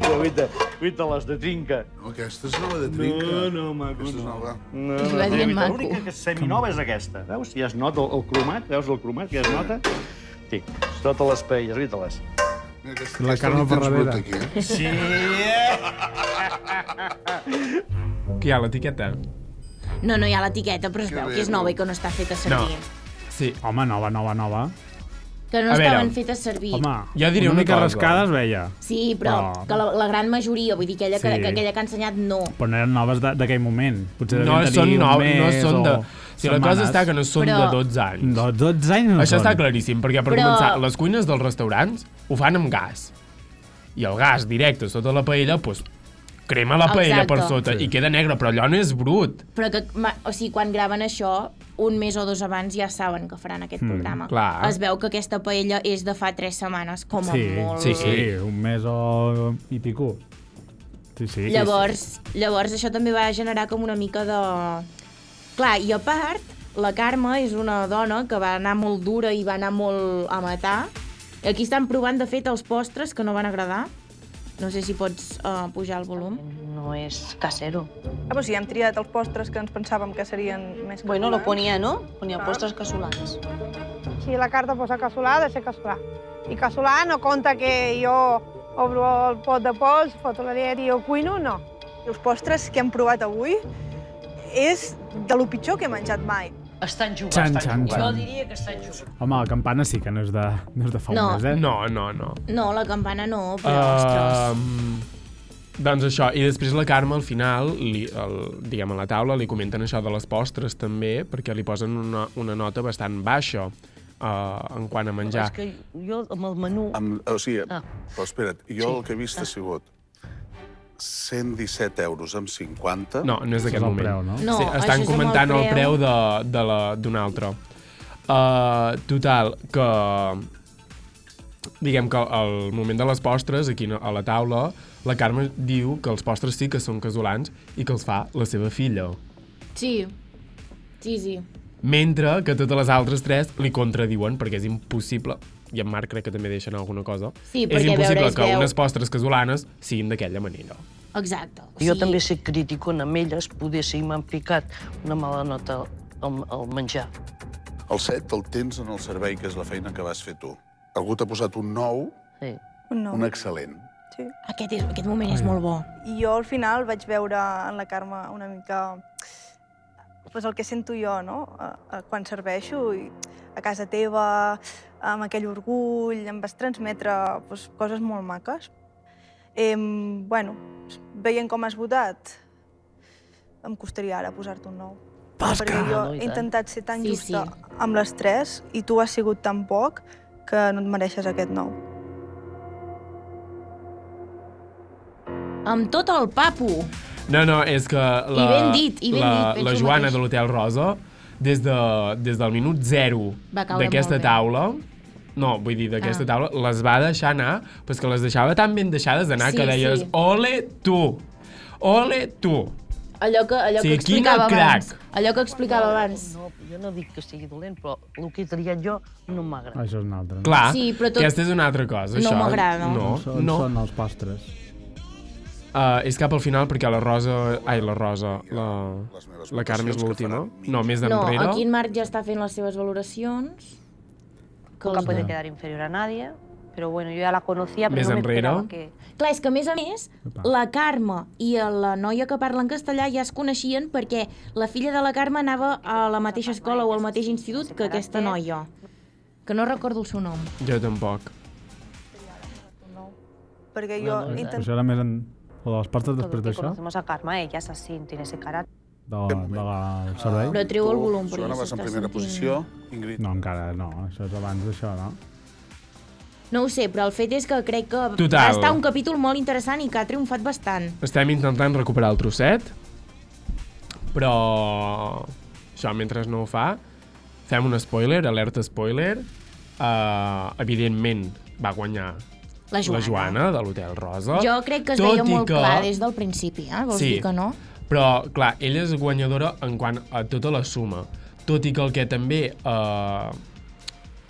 Speaker 9: Però, guita, guita, les de trinca.
Speaker 8: No, aquesta és nova de trinca.
Speaker 9: No, no, maco,
Speaker 8: Aquesta és
Speaker 9: no.
Speaker 8: nova.
Speaker 9: No,
Speaker 3: I va dient
Speaker 9: Guita,
Speaker 3: maco.
Speaker 9: L'única que és seminova és aquesta. Veus? Ja es nota el, el cromat, veus el cromat, ja es nota. Tic, es nota les paelles, guita-les.
Speaker 8: Mira, aquesta,
Speaker 1: La Carme
Speaker 8: tens brut
Speaker 1: Ferradera.
Speaker 8: Aquí, eh?
Speaker 9: Sí, eh?
Speaker 2: Que hi ha l'etiqueta?
Speaker 3: No, no hi ha l'etiqueta, però es
Speaker 8: Que
Speaker 3: veu
Speaker 8: bé,
Speaker 3: que és
Speaker 8: no?
Speaker 3: nova i que no està feta servir.
Speaker 2: Sí.
Speaker 1: Home, nova, nova, nova.
Speaker 3: Que no
Speaker 2: A veure.
Speaker 3: estaven fetes servir.
Speaker 1: Home,
Speaker 2: Jo diré una
Speaker 1: mica
Speaker 2: cosa.
Speaker 1: rascades, veia.
Speaker 3: Sí, però
Speaker 1: Però-
Speaker 3: que la, la gran majoria, vull dir, aquella, que,
Speaker 1: Sí.
Speaker 3: que, aquella que ha ensenyat, no.
Speaker 1: Però no eren noves de- d'aquell moment. Potser
Speaker 2: No
Speaker 1: devien
Speaker 2: són
Speaker 1: tenir un
Speaker 2: nou,
Speaker 1: mes
Speaker 2: no són de...
Speaker 1: o
Speaker 2: O sigui, la cosa
Speaker 1: setmanes.
Speaker 2: està que no són de
Speaker 3: Però-
Speaker 2: 12 anys.
Speaker 1: No, 12 anys no
Speaker 2: Això
Speaker 1: són.
Speaker 2: està claríssim, perquè per
Speaker 3: Però-
Speaker 2: començar, les cuines dels restaurants ho fan amb gas. I el gas directe sota la paella, doncs, crema la paella
Speaker 3: Exacte.
Speaker 2: per sota i queda negre, però allò no és brut.
Speaker 3: Però que, ma- o sigui, quan graven això, un mes o dos abans ja saben que faran aquest
Speaker 1: Hmm,
Speaker 3: programa.
Speaker 2: clar.
Speaker 3: Es veu que aquesta paella és de fa tres setmanes, com a
Speaker 1: Sí,
Speaker 3: molt.
Speaker 1: sí, sí, un mes o... i pico. Sí, sí.
Speaker 3: Llavors, llavors això també va generar com una mica de... Clar, i a part, la Carme és una dona que va anar molt dura i va anar molt a matar. Aquí estan provant, de fet, els postres que no van agradar. No sé si pots uh, pujar el volum.
Speaker 6: No és casero.
Speaker 10: eh?
Speaker 7: Ah, però sí, hem triat els postres que ens pensàvem que eh? serien més
Speaker 6: Bueno, lo
Speaker 5: Ah.
Speaker 7: catalans.
Speaker 6: ponia, no? Ponia postres casolans.
Speaker 10: Si la carta posa casolà, ha de ser casolà. I casolà no compta que jo obro el pot de pols, foto la llet i jo cuino, no.
Speaker 7: Els postres que hem provat avui és de lo pitjor que he menjat mai.
Speaker 6: Estan jugant,
Speaker 1: Xan,
Speaker 6: estan
Speaker 1: xan,
Speaker 6: jugant.
Speaker 1: xan.
Speaker 6: Jo diria que estan jugant.
Speaker 1: Home, la campana sí que no és de, no és de fa
Speaker 3: No.
Speaker 1: un mes, eh?
Speaker 2: No, no, no.
Speaker 3: No, la campana no, però, uh... ostres...
Speaker 2: Um, doncs això, i després la Carme al final, li, el, diguem a la taula, li comenten això de les postres també, perquè li posen una, una nota bastant baixa uh, en quant a menjar.
Speaker 6: És que jo amb el menú...
Speaker 8: Amb, o sigui,
Speaker 6: Ah.
Speaker 8: però espera't, jo el que he vist ha sigut 117 euros amb 50.
Speaker 2: No, no és
Speaker 1: Aquest és
Speaker 2: d'aquest
Speaker 1: el
Speaker 2: moment.
Speaker 1: preu, no?
Speaker 3: No,
Speaker 2: sí,
Speaker 3: això
Speaker 2: estan
Speaker 3: és amb
Speaker 2: comentant
Speaker 3: el
Speaker 2: el preu, de, de la d'un altre. Uh, total, que... Diguem que al moment de les postres, aquí no- a la taula, la Carme diu que els postres sí que són casolans i que els fa la seva filla.
Speaker 3: Sí, sí, sí.
Speaker 2: Mentre que totes les altres tres li contradiuen perquè és impossible i en Marc crec que també deixen alguna cosa.
Speaker 3: Sí,
Speaker 2: és
Speaker 3: perquè a
Speaker 2: impossible
Speaker 3: veure, es
Speaker 2: que
Speaker 3: veu-
Speaker 2: unes postres casolanes siguin d'aquella manera.
Speaker 3: Exacte. O
Speaker 6: Jo
Speaker 3: sigui,
Speaker 6: també sé criticona amb elles, poder si m'han ficat una mala nota al, al menjar.
Speaker 8: El 7 el tens en el servei, que és la feina que vas fer tu. Algú t'ha posat un 9,
Speaker 6: Sí.
Speaker 7: Un nou.
Speaker 8: un excel·lent.
Speaker 7: Sí.
Speaker 3: Aquest, és, aquest moment és molt bo.
Speaker 7: I jo al final vaig veure en la Carme una mica pues, el que sento jo, no? Eh, eh, Quan serveixo i a casa teva, amb aquell orgull, em vas transmetre pues, coses molt maques. Eh, bueno, veient com has votat, em costaria ara posar-te un nou. Perquè jo
Speaker 6: Ah, No, i
Speaker 7: he
Speaker 6: tant.
Speaker 7: intentat ser tan
Speaker 3: Sí,
Speaker 7: justa
Speaker 3: sí.
Speaker 7: amb les tres i tu has sigut tan poc que no et mereixes aquest nou.
Speaker 3: Amb tot el papo.
Speaker 2: No, no, és que la,
Speaker 3: I ben dit, i ben
Speaker 2: la,
Speaker 3: dit, penso
Speaker 2: la
Speaker 3: el
Speaker 2: Joana
Speaker 3: mateix.
Speaker 2: de l'Hotel Rosa, des, de, des del minut zero
Speaker 3: Va caure
Speaker 2: d'aquesta
Speaker 3: molt bé.
Speaker 2: taula, no, vull dir, d'aquesta
Speaker 3: Ah.
Speaker 2: taula, les va deixar anar, però és que les deixava tan ben deixades d'anar
Speaker 3: Sí,
Speaker 2: que deies,
Speaker 3: sí.
Speaker 2: ole tu, ole tu.
Speaker 3: Allò que, allò
Speaker 2: Sí,
Speaker 3: que
Speaker 2: quina
Speaker 3: explicava abans.
Speaker 2: crac.
Speaker 3: Allò que explicava abans.
Speaker 6: No, jo no dic que sigui dolent, però el que he triat jo no m'agrada.
Speaker 1: Això és un altre.
Speaker 2: Clar,
Speaker 3: Sí, però tot-
Speaker 2: aquesta és una altra cosa,
Speaker 3: No
Speaker 2: això.
Speaker 3: m'agrada.
Speaker 2: No,
Speaker 1: Són,
Speaker 2: no.
Speaker 1: són els postres.
Speaker 2: Uh, és cap al final perquè la Rosa... Ai, la Rosa... La,
Speaker 8: Les meves
Speaker 2: la Carme és
Speaker 8: votacions que
Speaker 2: l'última.
Speaker 8: faran mitja.
Speaker 2: No, més
Speaker 3: No,
Speaker 2: d'enrere.
Speaker 3: aquí en Marc ja està fent les seves valoracions.
Speaker 5: Nunca puede quedar inferior a nadie, pero bueno, yo ya la conocía, pero
Speaker 2: Més
Speaker 5: no me
Speaker 2: enrere.
Speaker 5: esperaba que...
Speaker 3: Clar, és que a més a més,
Speaker 1: Opa.
Speaker 3: la Carme i la noia que parla en castellà ja es coneixien perquè la filla de la Carme anava a la mateixa escola o al mateix institut que aquesta noia, que no recordo el seu nom.
Speaker 2: Jo tampoc.
Speaker 7: Perquè
Speaker 1: Però
Speaker 7: jo he intentat
Speaker 1: Eh, això era més en... O de les postres després
Speaker 5: Todos que
Speaker 1: d'això?
Speaker 5: conocemos a Karma, ella es así, tiene ese carácter.
Speaker 1: De, de la del servei?
Speaker 3: Però treu el
Speaker 8: Tu,
Speaker 3: volum, perquè
Speaker 8: Joana,
Speaker 3: ja
Speaker 8: vas en
Speaker 3: s'està
Speaker 8: primera
Speaker 3: sentint.
Speaker 8: posició. Ingrid,
Speaker 1: No, encara no. Això és abans d'això, no?
Speaker 3: No ho sé, però el fet és que crec que
Speaker 2: Total.
Speaker 3: va estar un capítol molt interessant i que ha triomfat bastant.
Speaker 2: Estem intentant recuperar el trosset, però... Això, mentre no ho fa, fem un spoiler, alerta spoiler. Uh, evidentment, va guanyar
Speaker 3: La Joana.
Speaker 2: la Joana de l'Hotel Rosa.
Speaker 3: Jo crec que es
Speaker 2: Oh, tot
Speaker 3: veia
Speaker 2: i
Speaker 3: molt
Speaker 2: que...
Speaker 3: clar des del principi, eh? Vols
Speaker 2: Sí.
Speaker 3: dir que no?
Speaker 2: Però, clar, ella és guanyadora en quant a tota la suma. Tot i que el que també eh,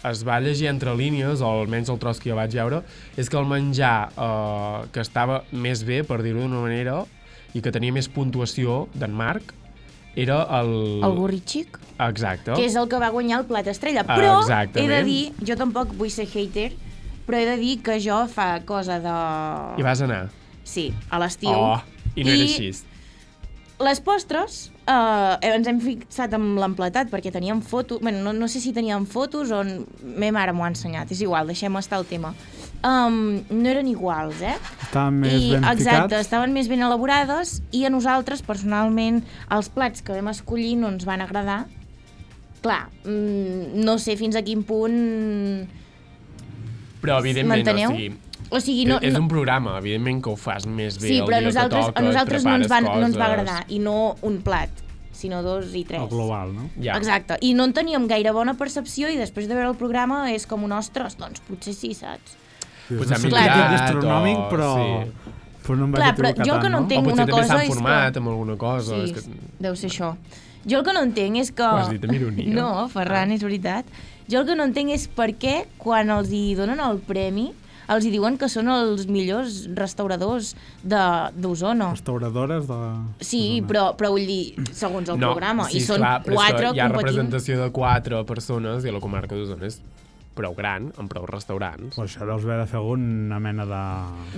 Speaker 2: es va llegir entre línies, o almenys el tros que jo vaig veure, és que el menjar eh, que estava més bé, per dir-ho d'una manera, i que tenia més puntuació d'en Marc, era el...
Speaker 3: El borritxic?
Speaker 2: Exacte.
Speaker 3: que és el que va guanyar el plat estrella.
Speaker 2: Ah,
Speaker 3: Però he
Speaker 2: exactament.
Speaker 3: de dir, jo tampoc vull ser hater, però he de dir que jo fa cosa de...
Speaker 2: I vas anar.
Speaker 3: Sí, a l'estiu.
Speaker 2: Oh, i no era així.
Speaker 3: Les postres, eh, ens hem fixat amb l'emplatat perquè teníem fotos, bueno, no, no sé si teníem fotos o n- me mare m'ho ha ensenyat, és igual, deixem estar el tema. Um, no eren iguals, eh?
Speaker 1: Està més
Speaker 3: I,
Speaker 1: ben
Speaker 3: exacte,
Speaker 1: picat.
Speaker 3: estaven més ben elaborades i a nosaltres, personalment, els plats que vam escollir no ens van agradar. Clar, mm, no sé fins a quin punt...
Speaker 2: Però, evidentment,
Speaker 3: M'enteneu?
Speaker 2: o sigui...
Speaker 3: O sigui, no,
Speaker 2: és, és
Speaker 3: no-
Speaker 2: un programa, evidentment que ho fas més bé
Speaker 3: sí,
Speaker 2: el
Speaker 3: però a
Speaker 2: dia
Speaker 3: nosaltres,
Speaker 2: que toca,
Speaker 3: a nosaltres no, ens
Speaker 2: van,
Speaker 3: van, no ens va agradar, i no un plat, sinó dos i tres.
Speaker 1: no?
Speaker 2: Ja.
Speaker 3: Exacte, i no en teníem gaire bona percepció i després de veure el programa és com un ostres, doncs potser sí, saps?
Speaker 2: Potser
Speaker 1: no
Speaker 2: ha
Speaker 1: sé
Speaker 2: millorat,
Speaker 1: què és gastronòmic,
Speaker 2: o-
Speaker 1: però...
Speaker 2: sí.
Speaker 1: Però no em vaig
Speaker 3: Clar, però
Speaker 1: equivocar
Speaker 3: jo el
Speaker 1: tant,
Speaker 3: que no
Speaker 1: no
Speaker 3: entenc
Speaker 2: o potser
Speaker 3: una
Speaker 2: també
Speaker 3: cosa
Speaker 2: s'han
Speaker 3: és que-
Speaker 2: format amb alguna cosa.
Speaker 3: sí,
Speaker 2: És que...
Speaker 3: deu ser això. Jo el que no entenc és que...
Speaker 2: Ho has dit amb ironia. Ah.
Speaker 3: No, Ferran, és veritat. Jo el que no entenc és per què, quan els hi donen el premi, els hi diuen que són els millors restauradors de- d'Osona.
Speaker 1: Restauradores de...
Speaker 3: Sí, però, però vull dir, segons el programa. I són
Speaker 2: clar, però és que
Speaker 3: quatre
Speaker 2: Hi ha
Speaker 3: competint.
Speaker 2: representació de quatre persones i a la comarca d'Osona és prou gran, amb prou restaurants.
Speaker 1: Però això deus haver de fer una mena de...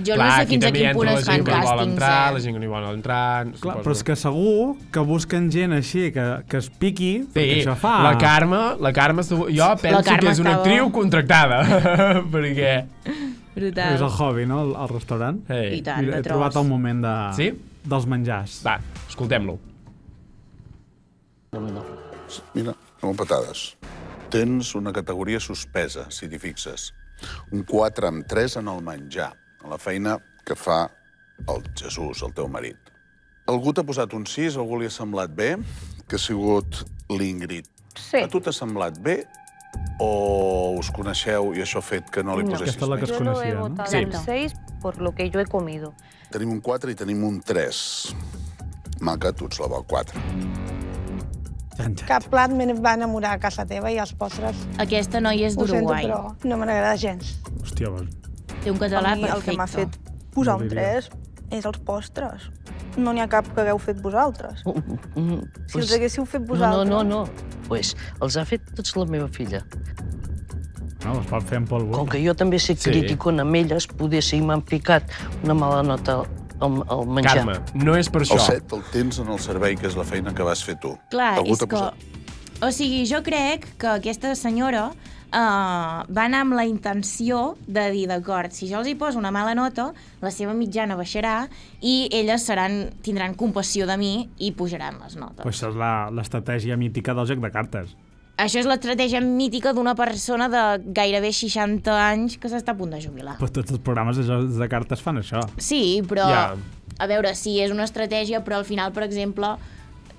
Speaker 3: Jo no sé
Speaker 2: aquí
Speaker 3: fins a
Speaker 2: també
Speaker 3: quin
Speaker 2: entra
Speaker 3: punt
Speaker 2: la
Speaker 3: es
Speaker 2: gent
Speaker 3: fan
Speaker 2: que vol
Speaker 3: càstings,
Speaker 2: entrar,
Speaker 3: eh?
Speaker 2: La gent que no hi vol entrar...
Speaker 1: Clar, però és que segur que busquen gent així, que, que es piqui,
Speaker 2: Sí,
Speaker 1: perquè això fa...
Speaker 2: la Carme, la Carme segur, jo penso
Speaker 1: Carme
Speaker 2: que és una
Speaker 1: estava-
Speaker 2: actriu contractada, perquè...
Speaker 3: Brutal.
Speaker 1: És el hobby, no?, el, el restaurant.
Speaker 2: Hey. I tant,
Speaker 1: Mira,
Speaker 2: de
Speaker 1: he trobat
Speaker 2: tros.
Speaker 1: el moment de...
Speaker 2: Sí?
Speaker 1: dels menjars.
Speaker 2: Va, escoltem-lo.
Speaker 8: Mira, no patades. Tens una categoria suspesa, si t'hi fixes. Un 4 amb 3 en el menjar, en la feina que fa el Jesús, el teu marit. Algú t'ha posat un 6, algú li ha semblat bé, que ha sigut l'Ingrid.
Speaker 11: Sí.
Speaker 8: A tu t'ha semblat bé o us coneixeu i això ha fet que no li posessis
Speaker 1: Aquesta és la que es
Speaker 8: més?
Speaker 5: Yo lo he
Speaker 1: coneixia,
Speaker 5: votado
Speaker 1: no?
Speaker 5: un 6 por lo que yo he comido.
Speaker 8: Tenim un 4 i tenim un 3. Maca, tu ets la del 4.
Speaker 11: Cap plat me va enamorar a casa teva i els postres.
Speaker 3: Aquesta noia és
Speaker 11: Ho sento,
Speaker 3: d'Uruguai.
Speaker 11: però no me n'agrada gens.
Speaker 1: Hòstia, doncs, bon.
Speaker 3: Té un català
Speaker 7: a mi, el que m'ha fet
Speaker 3: perfecte.
Speaker 7: posar
Speaker 6: No
Speaker 7: un
Speaker 6: diria.
Speaker 7: 3 és els postres. No n'hi ha cap que hagueu fet vosaltres.
Speaker 6: Mm,
Speaker 7: Si els haguéssiu fet
Speaker 6: No,
Speaker 7: vosaltres.
Speaker 6: no, no. no. Pues, els ha fet tots la meva filla.
Speaker 1: No, es pot fer amb polvo.
Speaker 6: Com que jo també sé
Speaker 2: Sí.
Speaker 6: sí. criticona amb elles, poder si m'han ficat una mala nota al, al menjar.
Speaker 2: Carme, no és per això.
Speaker 8: El 7 el tens en el servei, que és la feina que vas fer tu.
Speaker 3: Clar,
Speaker 8: Algú
Speaker 3: és
Speaker 8: t'ha
Speaker 3: que...
Speaker 8: posat
Speaker 3: O sigui, jo crec que aquesta senyora uh, va anar amb la intenció de dir, d'acord, si jo els hi poso una mala nota, la seva mitjana baixarà i elles seran, tindran compassió de mi i pujaran les notes.
Speaker 1: Però això és la- l'estratègia mítica del joc de cartes.
Speaker 3: Això és l'estratègia mítica d'una persona de gairebé 60 anys que s'està a punt de jubilar.
Speaker 1: Però tots els programes de jocs de cartes fan això.
Speaker 3: Sí, però...
Speaker 1: Ja.
Speaker 3: A veure, sí, és una estratègia, però al final, per exemple,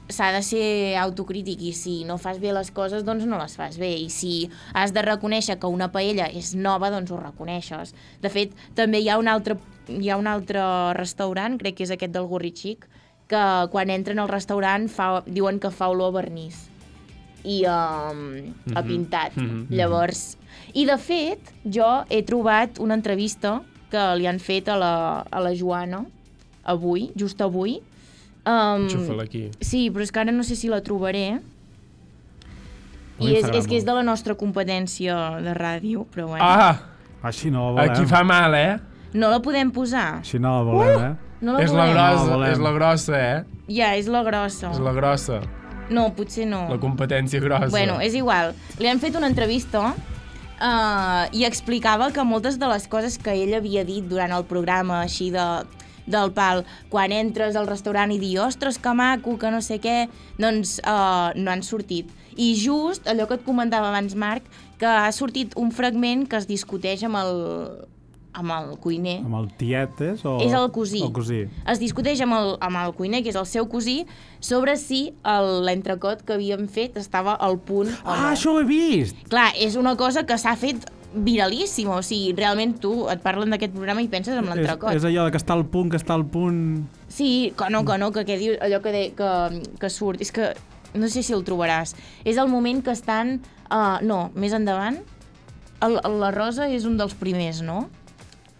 Speaker 3: s'ha de ser autocrític i si no fas bé les coses, doncs no les fas bé. I si has de reconèixer que una paella és nova, doncs ho reconeixes. De fet, també hi ha un altre, hi ha un altre restaurant, crec que és aquest del Gorritxic, que quan entren al restaurant fa, diuen que fa olor a vernís i um, a
Speaker 2: Mm-hmm.
Speaker 12: Mhm,
Speaker 3: pintat.
Speaker 12: mhm, mhm.
Speaker 3: Llavors... I, de fet, jo he trobat una entrevista que li han fet a la, a la Joana avui, just avui. Um,
Speaker 2: Xufa-la aquí.
Speaker 3: Sí, però és que ara no sé si la trobaré.
Speaker 1: Ui,
Speaker 3: I és,
Speaker 1: farà
Speaker 3: és que és
Speaker 1: molt.
Speaker 3: de la nostra competència de ràdio, però bueno.
Speaker 2: Ah,
Speaker 1: Així no la volem.
Speaker 2: aquí fa mal, eh?
Speaker 3: No la podem posar.
Speaker 1: Així no la volem,
Speaker 3: Uh!
Speaker 1: eh?
Speaker 3: No la
Speaker 2: és la
Speaker 3: volem.
Speaker 2: grossa,
Speaker 1: No la volem.
Speaker 2: és la grossa, eh?
Speaker 3: Ja, és la grossa.
Speaker 2: És la grossa,
Speaker 3: No, potser no.
Speaker 2: la competència grossa.
Speaker 3: Oh. Bueno, és igual. Li han fet una entrevista uh, i explicava que moltes de les coses que ell havia dit durant el programa, així de, del pal, quan entres al restaurant i dir, ostres, que maco, que no sé què, doncs uh, no han sortit. I just allò que et comentava abans, Marc, que ha sortit un fragment que es discuteix amb el, amb el cuiner
Speaker 1: Amb el tiet, és? O...
Speaker 3: És el cosí.
Speaker 1: El cosí.
Speaker 3: es discuteix amb el, amb el cuiner, que és el seu cosí, sobre si el- l'entrecot que havíem fet estava al punt o
Speaker 1: Ah,
Speaker 3: no.
Speaker 1: això ho he vist!
Speaker 3: Clar, és una cosa que s'ha fet viralíssima, o sigui, realment tu et parlen d'aquest programa i penses en
Speaker 1: És,
Speaker 3: l'entrecot.
Speaker 1: és allò de que està al punt, que està al punt...
Speaker 3: Sí, que no, que no, que què dius, allò que, de, que, que surt, és que no sé si el trobaràs. És el moment que estan, uh, no, més endavant, el, el, la Rosa és un dels primers, no?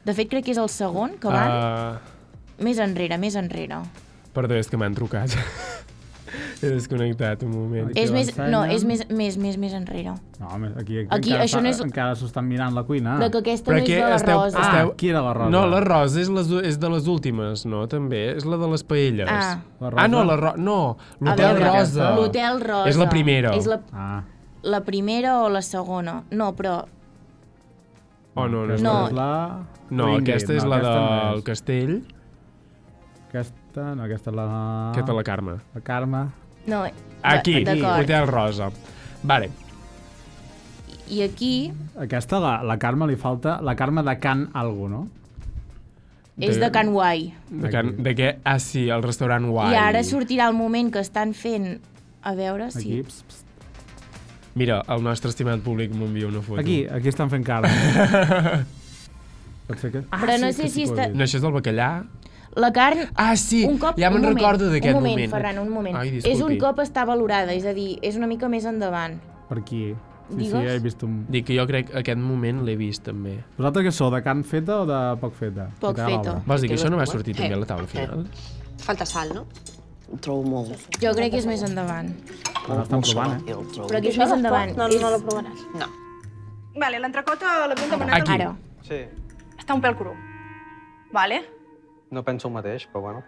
Speaker 3: De fet, crec que és el segon que van
Speaker 1: Ah.
Speaker 3: uh... més enrere, més enrere.
Speaker 2: Ah, Perdó, és que m'han trucat. He desconnectat un moment.
Speaker 3: és més, no, és més, més, més, més enrere.
Speaker 1: No, home, aquí, aquí,
Speaker 3: Aquí,
Speaker 1: encara,
Speaker 3: això no
Speaker 1: fa-
Speaker 3: és-
Speaker 1: encara s'ho estan mirant la cuina.
Speaker 3: De que aquesta Però no és què, la de esteu- Rosa.
Speaker 1: Ah,
Speaker 2: esteu-
Speaker 1: aquí era la Rosa.
Speaker 2: No, la Rosa és, les, és de les últimes, no? També és la de les paelles.
Speaker 3: Ah.
Speaker 1: La
Speaker 2: ah
Speaker 1: Rosa?
Speaker 2: no, la Rosa... No,
Speaker 1: A
Speaker 2: l'hotel
Speaker 1: veure,
Speaker 2: Rosa.
Speaker 1: aquesta.
Speaker 3: L'Hotel Rosa.
Speaker 2: És la primera.
Speaker 3: És la,
Speaker 1: ah.
Speaker 3: la primera o la segona? No, però...
Speaker 2: Oh, no, no.
Speaker 3: No.
Speaker 2: és
Speaker 1: La-
Speaker 2: No,
Speaker 1: Ingrid,
Speaker 2: aquesta és
Speaker 1: no,
Speaker 2: la
Speaker 1: aquesta no
Speaker 2: del
Speaker 1: és.
Speaker 2: castell.
Speaker 1: Aquesta, no, aquesta és la...
Speaker 2: Aquesta és la Carme.
Speaker 1: La Carme.
Speaker 3: No,
Speaker 2: Aquí,
Speaker 3: d'acord.
Speaker 2: Hotel Rosa. Vale.
Speaker 3: I aquí
Speaker 1: Aquesta, la, la Carme li falta... La Carme de Can Algo, no?
Speaker 3: és de Can Wai.
Speaker 2: De, can, de què? Ah, sí, el restaurant Guai.
Speaker 3: I ara sortirà el moment que estan fent... A veure si...
Speaker 2: Aquí, Mira, el nostre estimat públic m'envia una foto.
Speaker 1: Aquí, aquí estan fent cara. Pot ser que...
Speaker 3: Ah, Però no sí, sé que sí si que ho he està- vist.
Speaker 2: No, això és del bacallà?
Speaker 3: La carn...
Speaker 2: Ah, sí,
Speaker 3: un cop,
Speaker 2: ja me'n
Speaker 3: un moment,
Speaker 2: recordo d'aquest
Speaker 3: un moment.
Speaker 2: moment.
Speaker 3: Ferran, un moment.
Speaker 2: Ai, disculpi.
Speaker 3: és un cop està valorada, és a dir, és una mica més endavant.
Speaker 1: Per aquí. Sí, sí,
Speaker 3: Digues?
Speaker 1: ja he vist un...
Speaker 2: Dic que jo crec que aquest moment l'he vist, també.
Speaker 1: Vosaltres què sou, de carn feta o de poc feta?
Speaker 3: Poc
Speaker 1: Què tal,
Speaker 3: feta.
Speaker 1: Laura?
Speaker 2: Vols dir que això no va sortir també a la taula final?
Speaker 13: Falta sal, no?
Speaker 6: Ho trobo molt.
Speaker 3: Jo crec que és més endavant.
Speaker 1: Ara estan provant, eh?
Speaker 6: Jo el trobo.
Speaker 3: Però aquí és més endavant.
Speaker 7: No, no, no la provaràs.
Speaker 6: No.
Speaker 7: Vale, eh, l'entrecota l'havíem demanat
Speaker 9: Aquí.
Speaker 7: ara.
Speaker 9: Sí,
Speaker 7: Està un pèl cru. Vale?
Speaker 9: no penso el mateix, però bueno.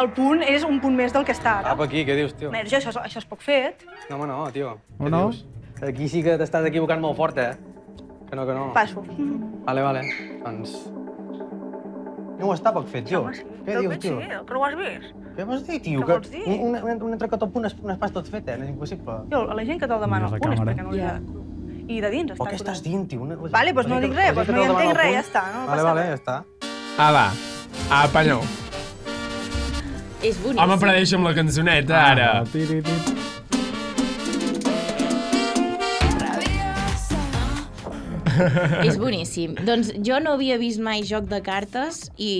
Speaker 7: El punt és un punt més del que està ara.
Speaker 9: Cap aquí, què dius, tio?
Speaker 7: Merge, això, és- això és poc fet.
Speaker 9: No, home, no, tio.
Speaker 1: O no?
Speaker 9: Aquí sí que t'estàs equivocant molt fort, eh? Que no, que no.
Speaker 7: Passo.
Speaker 9: Vale, vale. Doncs... No ho està poc fet, tio. Què dius, tio?
Speaker 7: que ho has vist?
Speaker 9: Què vols dir, tio?
Speaker 7: Què vols dir?
Speaker 9: Un, un, un, un entrecot al punt es, no es pas tot fet, eh? No és impossible.
Speaker 7: Jo, a la gent que te'l demana
Speaker 9: Mires la
Speaker 7: al punt és
Speaker 9: càmera.
Speaker 7: perquè no li
Speaker 9: Ja.
Speaker 7: agrada. I de dins està
Speaker 9: Però què estàs dient, tio? Una...
Speaker 7: Vale, doncs no dic res, doncs no hi entenc res, ja està. No
Speaker 9: vale,
Speaker 7: passa
Speaker 9: vale,
Speaker 7: res.
Speaker 9: ja està.
Speaker 2: Ala, apanyó.
Speaker 3: És bonic.
Speaker 2: Ah, Home, però deixa'm la cançoneta,
Speaker 3: Ah.
Speaker 2: ara.
Speaker 3: És boníssim. Doncs jo no havia vist mai joc de cartes i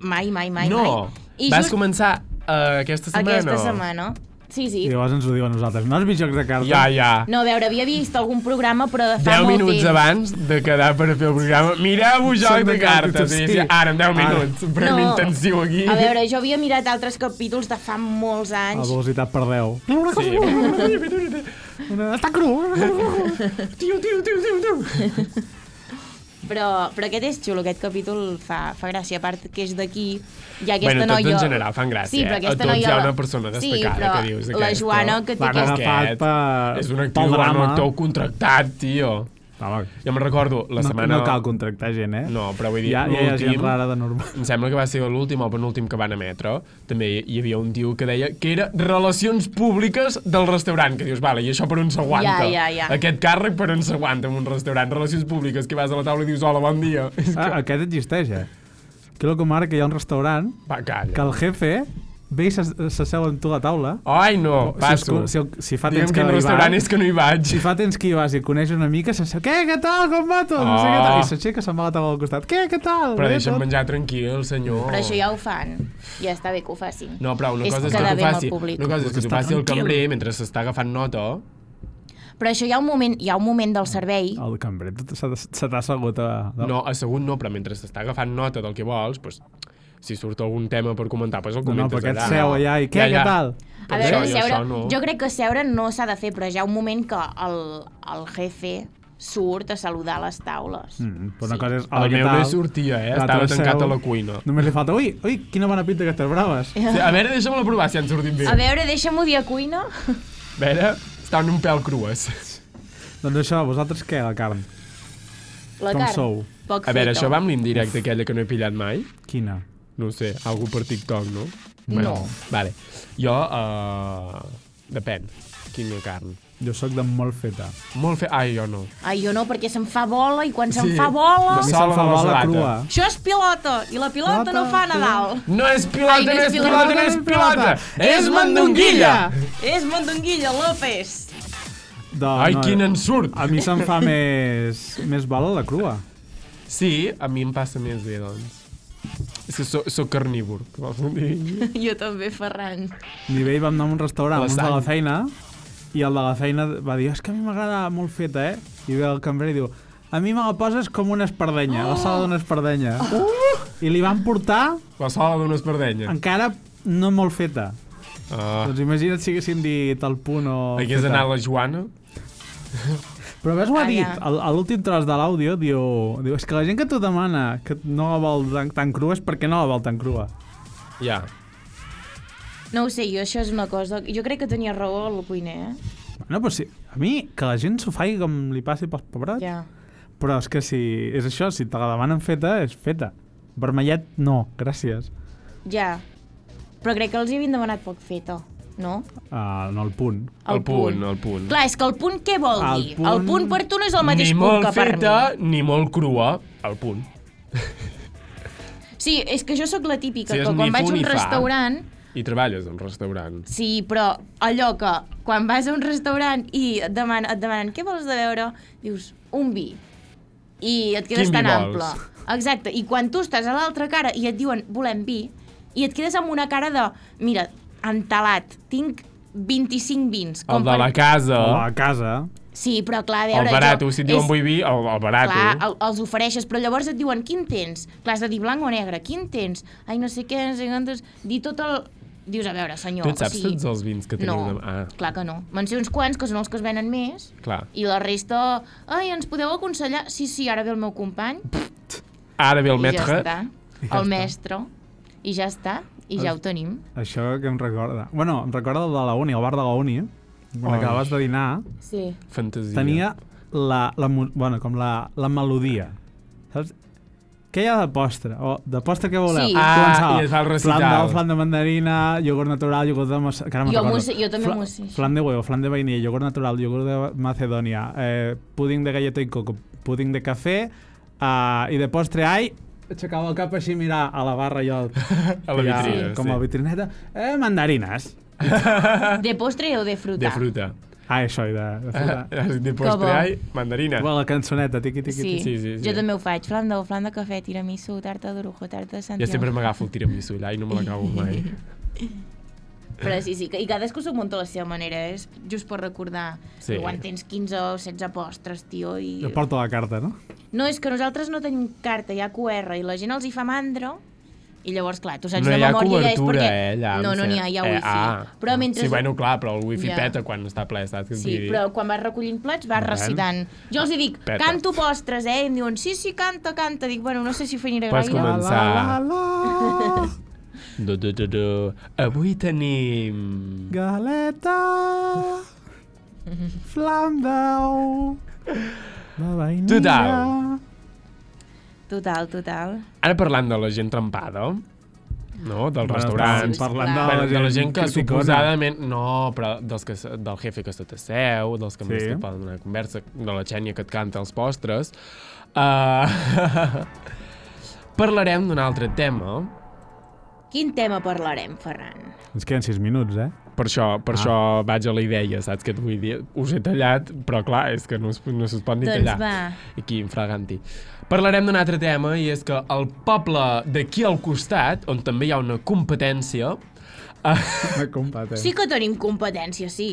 Speaker 3: mai, mai, mai,
Speaker 2: No,
Speaker 3: mai. I
Speaker 2: vas començar uh, aquesta setmana.
Speaker 3: Aquesta setmana. Sí, sí.
Speaker 1: I llavors ens ho diu a nosaltres. No has vist jocs de cartes?
Speaker 2: Ja, ja.
Speaker 3: No, a veure, havia vist algun programa, però de fa
Speaker 2: 10
Speaker 3: molt
Speaker 2: minuts
Speaker 3: temps.
Speaker 2: abans de quedar per fer el programa. Mireu-vos
Speaker 1: Joc
Speaker 2: joc
Speaker 1: de
Speaker 2: de cartes.
Speaker 1: cartes,
Speaker 2: I
Speaker 1: sí. Ah.
Speaker 2: sí. Ara, en 10
Speaker 1: Ara.
Speaker 2: minuts. Prem
Speaker 3: No.
Speaker 2: intensiu aquí.
Speaker 3: A veure, jo havia mirat altres capítols de fa molts
Speaker 1: A
Speaker 2: Ah,
Speaker 3: anys.
Speaker 1: velocitat per 10.
Speaker 2: Sí.
Speaker 1: Està cru.
Speaker 2: Tio, tio, tio, tio, tio.
Speaker 3: Però, però aquest és xulo, aquest capítol fa, fa gràcia, a part que és d'aquí, i aquesta
Speaker 2: Bueno, tots
Speaker 3: noia...
Speaker 2: en general fan gràcia,
Speaker 3: Sí, però
Speaker 2: eh? A
Speaker 3: aquesta
Speaker 2: tots
Speaker 3: noia...
Speaker 2: hi ha una persona destacada
Speaker 3: sí, però
Speaker 2: que dius,
Speaker 3: la
Speaker 2: aquesta.
Speaker 3: Joana que té
Speaker 2: Van
Speaker 3: aquest...
Speaker 2: agafat per... Ah, És un actiu, un
Speaker 1: eh, drama.
Speaker 2: actor contractat, tio. Jo me'n recordo, la
Speaker 1: No-
Speaker 2: setmana...
Speaker 1: no cal contractar gent, eh?
Speaker 2: No, però vull dir,
Speaker 1: Ja- ja hi ha gent
Speaker 2: l'últim-
Speaker 1: rara de normal.
Speaker 2: Em sembla que va ser l'últim o el penúltim que van emetre. També hi, hi havia un tio que deia que era relacions públiques del restaurant, que dius, vale, i això per on s'aguanta?
Speaker 3: Ja, ja, ja.
Speaker 2: Aquest càrrec per on s'aguanta en un restaurant? Relacions públiques, que vas a la taula i dius, hola, bon dia.
Speaker 1: Ah, aquest existeix, eh? Que loco mare que hi ha un restaurant
Speaker 2: Va, calla.
Speaker 1: que el jefe ve i s'as- s'asseu amb tu a la taula.
Speaker 2: Ai, no,
Speaker 1: Si
Speaker 2: passo.
Speaker 1: es- Si, si, fa
Speaker 2: Digue'm
Speaker 1: temps que,
Speaker 2: quin
Speaker 1: no hi
Speaker 2: restaurant
Speaker 1: vas,
Speaker 2: és que no hi vaig.
Speaker 1: Si fa temps que hi vas i et coneix una mica, s'asseu, què, què tal, com va tot? No sé què
Speaker 2: Oh.
Speaker 1: tal. I s'aixeca, se'n va a la taula al costat, què, què tal?
Speaker 2: Però
Speaker 1: Bé,
Speaker 2: deixa'm
Speaker 1: tot?"
Speaker 2: menjar tranquil, senyor.
Speaker 3: Però això ja ho fan. Ja està bé que ho facin.
Speaker 2: No, però una
Speaker 3: És
Speaker 2: cosa és que
Speaker 3: quedar
Speaker 2: t'ho
Speaker 3: bé amb el
Speaker 2: faci,
Speaker 3: públic.
Speaker 2: una cosa és que t'ho
Speaker 1: Està
Speaker 2: faci el
Speaker 1: tranquil.
Speaker 2: cambrer mentre s'està agafant nota.
Speaker 3: Però això hi ha un moment, hi ha un moment del servei
Speaker 1: El cambrer tot s'ha- se t'ha assegut a...
Speaker 2: No, assegut no, però mentre s'està agafant nota del que vols, doncs, si surt algun tema per comentar, doncs el
Speaker 1: No, no,
Speaker 2: comentes
Speaker 1: perquè et
Speaker 2: allà.
Speaker 1: seu allà i què, què tal?
Speaker 3: A
Speaker 2: Per
Speaker 3: veure,
Speaker 2: això, jo
Speaker 3: seure,
Speaker 2: això no.
Speaker 3: jo crec que seure no s'ha de fer, però hi ha un moment que el, el jefe surt a saludar les taules.
Speaker 1: Mm, però una cosa és...
Speaker 2: El
Speaker 1: "Hola, què
Speaker 2: meu
Speaker 1: tal?"
Speaker 2: no hi sortia, eh?
Speaker 1: L'altre
Speaker 2: Estava
Speaker 1: seu.
Speaker 2: tancat a la cuina.
Speaker 1: Només li falta, ui, ui, quina bona pinta aquestes braves.
Speaker 2: Sí, a veure, deixa'm-la provar si han sortit bé.
Speaker 3: A veure, deixa'm-ho dir a cuina.
Speaker 2: A veure, estan un pèl crues.
Speaker 1: Doncs això, vosaltres què, la carn?
Speaker 3: La
Speaker 1: Com
Speaker 3: carn.
Speaker 1: sou?
Speaker 3: Poc
Speaker 2: a veure,
Speaker 3: feta.
Speaker 2: això va amb l'indirecte aquella que no he pillat mai?
Speaker 1: Quina?
Speaker 2: No ho sé, algú per TikTok, no?
Speaker 3: No.
Speaker 2: Vale. Jo, uh, depèn, quina carn.
Speaker 1: Jo sóc de molt feta.
Speaker 2: Molt fe... Ai, jo no.
Speaker 3: Ai, jo no, perquè se'm fa bola i quan se'm fa bola...
Speaker 2: La sola de la sabata. crua.
Speaker 3: Això és pilota, i la pilota no fa Nadal.
Speaker 2: No és pilota,
Speaker 3: Ai,
Speaker 2: no és pilota, no és pilota. És mandonguilla.
Speaker 3: És mandonguilla, López.
Speaker 1: De,
Speaker 2: Ai, quin ensurt!
Speaker 1: A mi se'm fa més, més bala la crua.
Speaker 2: Sí, a mi em passa més bé, doncs. És que soc, soc carnívor, que vols dir?
Speaker 3: Jo també, Ferran.
Speaker 1: Nivell vam anar a un restaurant,
Speaker 2: La
Speaker 1: un de la
Speaker 2: sang.
Speaker 1: feina, i el de la feina va dir, és que a mi m'agrada molt feta, eh? I ve el cambrer i diu, a mi me la poses com una espardenya, la sala d'una espardenya. I li van portar...
Speaker 2: La sala d'una espardenya.
Speaker 1: Encara no molt feta.
Speaker 2: Ah.
Speaker 1: Doncs imagina't si haguéssim dit el punt o...
Speaker 2: Hagués
Speaker 1: feta.
Speaker 2: anat la Joana?
Speaker 1: Però ves, ho ha
Speaker 2: Ah,
Speaker 1: dit,
Speaker 2: ja.
Speaker 1: al- a l'últim tros de l'àudio, diu, diu, és que la gent que t'ho demana, que no la vol tan, tan crua, és perquè no la vol tan crua.
Speaker 2: Ja.
Speaker 3: No ho sé, jo això és una cosa... Jo crec que tenia raó el cuiner, eh?
Speaker 1: No, però si, doncs a mi, que la gent s'ho faci com li passi pels pebrots,
Speaker 3: Ja.
Speaker 1: però és que si és això, si te la demanen feta, és feta. Vermellet, no, gràcies.
Speaker 3: Ja. Però crec que els hi havien demanat poc feta, no?
Speaker 1: Uh, no, el punt.
Speaker 3: El El punt,
Speaker 2: el punt.
Speaker 3: Clar, és que el punt què vol
Speaker 2: El
Speaker 3: dir?
Speaker 2: punt-
Speaker 3: El punt per tu no és el mateix
Speaker 2: ni
Speaker 3: punt
Speaker 2: molt
Speaker 3: que per
Speaker 2: feta, ni molt crua, al punt.
Speaker 3: mi. Sí, és que jo sóc la típica,
Speaker 2: Sí, és
Speaker 3: que
Speaker 2: ni
Speaker 3: quan vaig
Speaker 2: fu
Speaker 3: a
Speaker 2: ni
Speaker 3: un
Speaker 2: fa.
Speaker 3: restaurant...
Speaker 2: I treballes en un restaurant.
Speaker 3: Sí, però allò que quan vas a un restaurant i et demanen, et demanen què vols de beure, dius un vi. I et quedes
Speaker 2: Quin vi
Speaker 3: tan
Speaker 2: vols?
Speaker 3: ample. Exacte. I quan tu estàs a l'altra cara i et diuen volem vi, i et quedes amb una cara de, mira, entelat, tinc 25 vins.
Speaker 2: El de la casa.
Speaker 1: El de la casa.
Speaker 3: Sí, però clar, a
Speaker 2: El
Speaker 3: veure...
Speaker 2: barato,
Speaker 3: jo-
Speaker 2: si et diuen
Speaker 3: és-
Speaker 2: vull vi, el, el barato.
Speaker 3: Clar, el, els ofereixes, però llavors et diuen quin tens? Clar, has de dir blanc o negre, quin tens? Ai, no sé què, no sé quantos... Dir tot el... Dius, a veure, senyor...
Speaker 2: tu et saps
Speaker 3: o sigui,
Speaker 2: tots els vins que teniu?
Speaker 3: no,
Speaker 2: De... Ah,
Speaker 3: clar que no. Me'n sé uns quants, que són els que es venen més,
Speaker 2: clar.
Speaker 3: i la resta... Ai, ens podeu aconsellar? Sí, sí, ara ve el meu company,
Speaker 2: Ara ve el
Speaker 3: i ja
Speaker 2: metre.
Speaker 3: està.
Speaker 1: ja
Speaker 3: El
Speaker 1: està.
Speaker 3: mestre, i ja està, i ja ho tenim.
Speaker 1: Això que em recorda... Bueno, em recorda el de la uni, el bar de la uni, quan
Speaker 2: Ai.
Speaker 1: acabaves de dinar,
Speaker 3: Sí.
Speaker 2: Fantasia.
Speaker 1: tenia la, la, mu- bueno, com la, la melodia. Saps? Què hi ha de postre? O de postre què voleu?
Speaker 3: Sí.
Speaker 1: I
Speaker 3: Ah,
Speaker 1: començava,
Speaker 2: i es fa el recital.
Speaker 1: Flan de, flan de mandarina, iogurt natural, iogurt de... Mas... Que ara me'n
Speaker 3: Jo
Speaker 1: recordo.
Speaker 3: m'ho sé- jo també
Speaker 1: Fla-
Speaker 3: m'ho sé, això.
Speaker 1: Flan de huevo, flan de vainilla, iogurt natural, iogurt de macedònia, eh, púding de galleta i coco, púding de cafè, eh, i de postre ai, aixecava el cap així mirar a la barra i el,
Speaker 2: A la
Speaker 1: i
Speaker 2: vitrina,
Speaker 1: com
Speaker 2: sí.
Speaker 1: a vitrineta, eh, mandarines.
Speaker 2: Ah.
Speaker 3: De postre o de fruta?
Speaker 1: De fruta. Ah, això, i de, de
Speaker 2: Eh,
Speaker 1: fruta.
Speaker 2: De
Speaker 3: postre, bo. ai,
Speaker 2: mandarina.
Speaker 1: Bueno, la cançoneta, tiqui, tiqui,
Speaker 3: Sí.
Speaker 1: tiqui.
Speaker 3: Sí, sí, sí. Jo també ho faig. Flan de, flan de cafè, tiramisú, tarta d'orujo, tarta de Santiago.
Speaker 2: Jo sempre m'agafo el tiramisú allà i no me l'acabo mai.
Speaker 3: Però sí, sí, que- i cadascú s'ho munta a la seva manera, eh? és just per recordar.
Speaker 1: Sí.
Speaker 3: Sí. Quan tens 15 o 16 postres, tio, i...
Speaker 1: Jo porto la carta, no?
Speaker 3: No, és que nosaltres no tenim carta, hi ha QR, i la gent els hi fa mandra, i llavors, clar, tu saps
Speaker 2: no
Speaker 3: de
Speaker 2: hi ha
Speaker 3: memòria i deies
Speaker 2: cobertura,
Speaker 3: perquè...
Speaker 2: eh, allà. em
Speaker 3: no, no n'hi ha,
Speaker 2: sembla.
Speaker 3: hi ha wifi.
Speaker 2: ah,
Speaker 3: però mentre...
Speaker 2: Sí, bueno, clar, però el wifi
Speaker 3: Ja.
Speaker 2: peta quan està ple, saps? què et
Speaker 3: Sí,
Speaker 2: vull dir?
Speaker 3: però quan vas recollint plats vas
Speaker 2: Bueno.
Speaker 3: recitant. Jo els hi dic,
Speaker 2: Peta.
Speaker 3: canto postres, eh? I em diuen, sí, sí, canta, canta. Dic, bueno, no sé si finiré
Speaker 2: Pots
Speaker 3: gaire.
Speaker 2: començar. La, la,
Speaker 1: la.
Speaker 2: Du, du, du, du. Avui tenim...
Speaker 1: Galeta, flam d'ou, de vainilla...
Speaker 2: Total.
Speaker 3: Total, total.
Speaker 2: Ara parlant de la gent trampada, no? Dels
Speaker 1: Bueno,
Speaker 2: restaurants.
Speaker 1: estàvem parlant de la
Speaker 2: Bueno, de la
Speaker 1: gent
Speaker 2: gent que
Speaker 1: criticona.
Speaker 2: suposadament... No, però dels que, se- del jefe que se t'asseu, dels que
Speaker 1: Sí.
Speaker 2: sí. més te poden donar conversa, de la Xènia que et canta els postres. Uh, parlarem d'un altre tema.
Speaker 3: Quin tema parlarem, Ferran?
Speaker 1: Ens queden 6 minuts, eh?
Speaker 2: Per això, per ah. això vaig a la idea, saps què et vull dir? Us he tallat, però clar, és que no, es- no se'ls pot ni
Speaker 3: Doncs
Speaker 2: tallar.
Speaker 3: va.
Speaker 2: Aquí, infraganti. Parlarem d'un altre tema, i és que el poble d'aquí al costat, on també hi ha una competència... eh, Una
Speaker 1: competència.
Speaker 3: Sí que tenim competència, sí.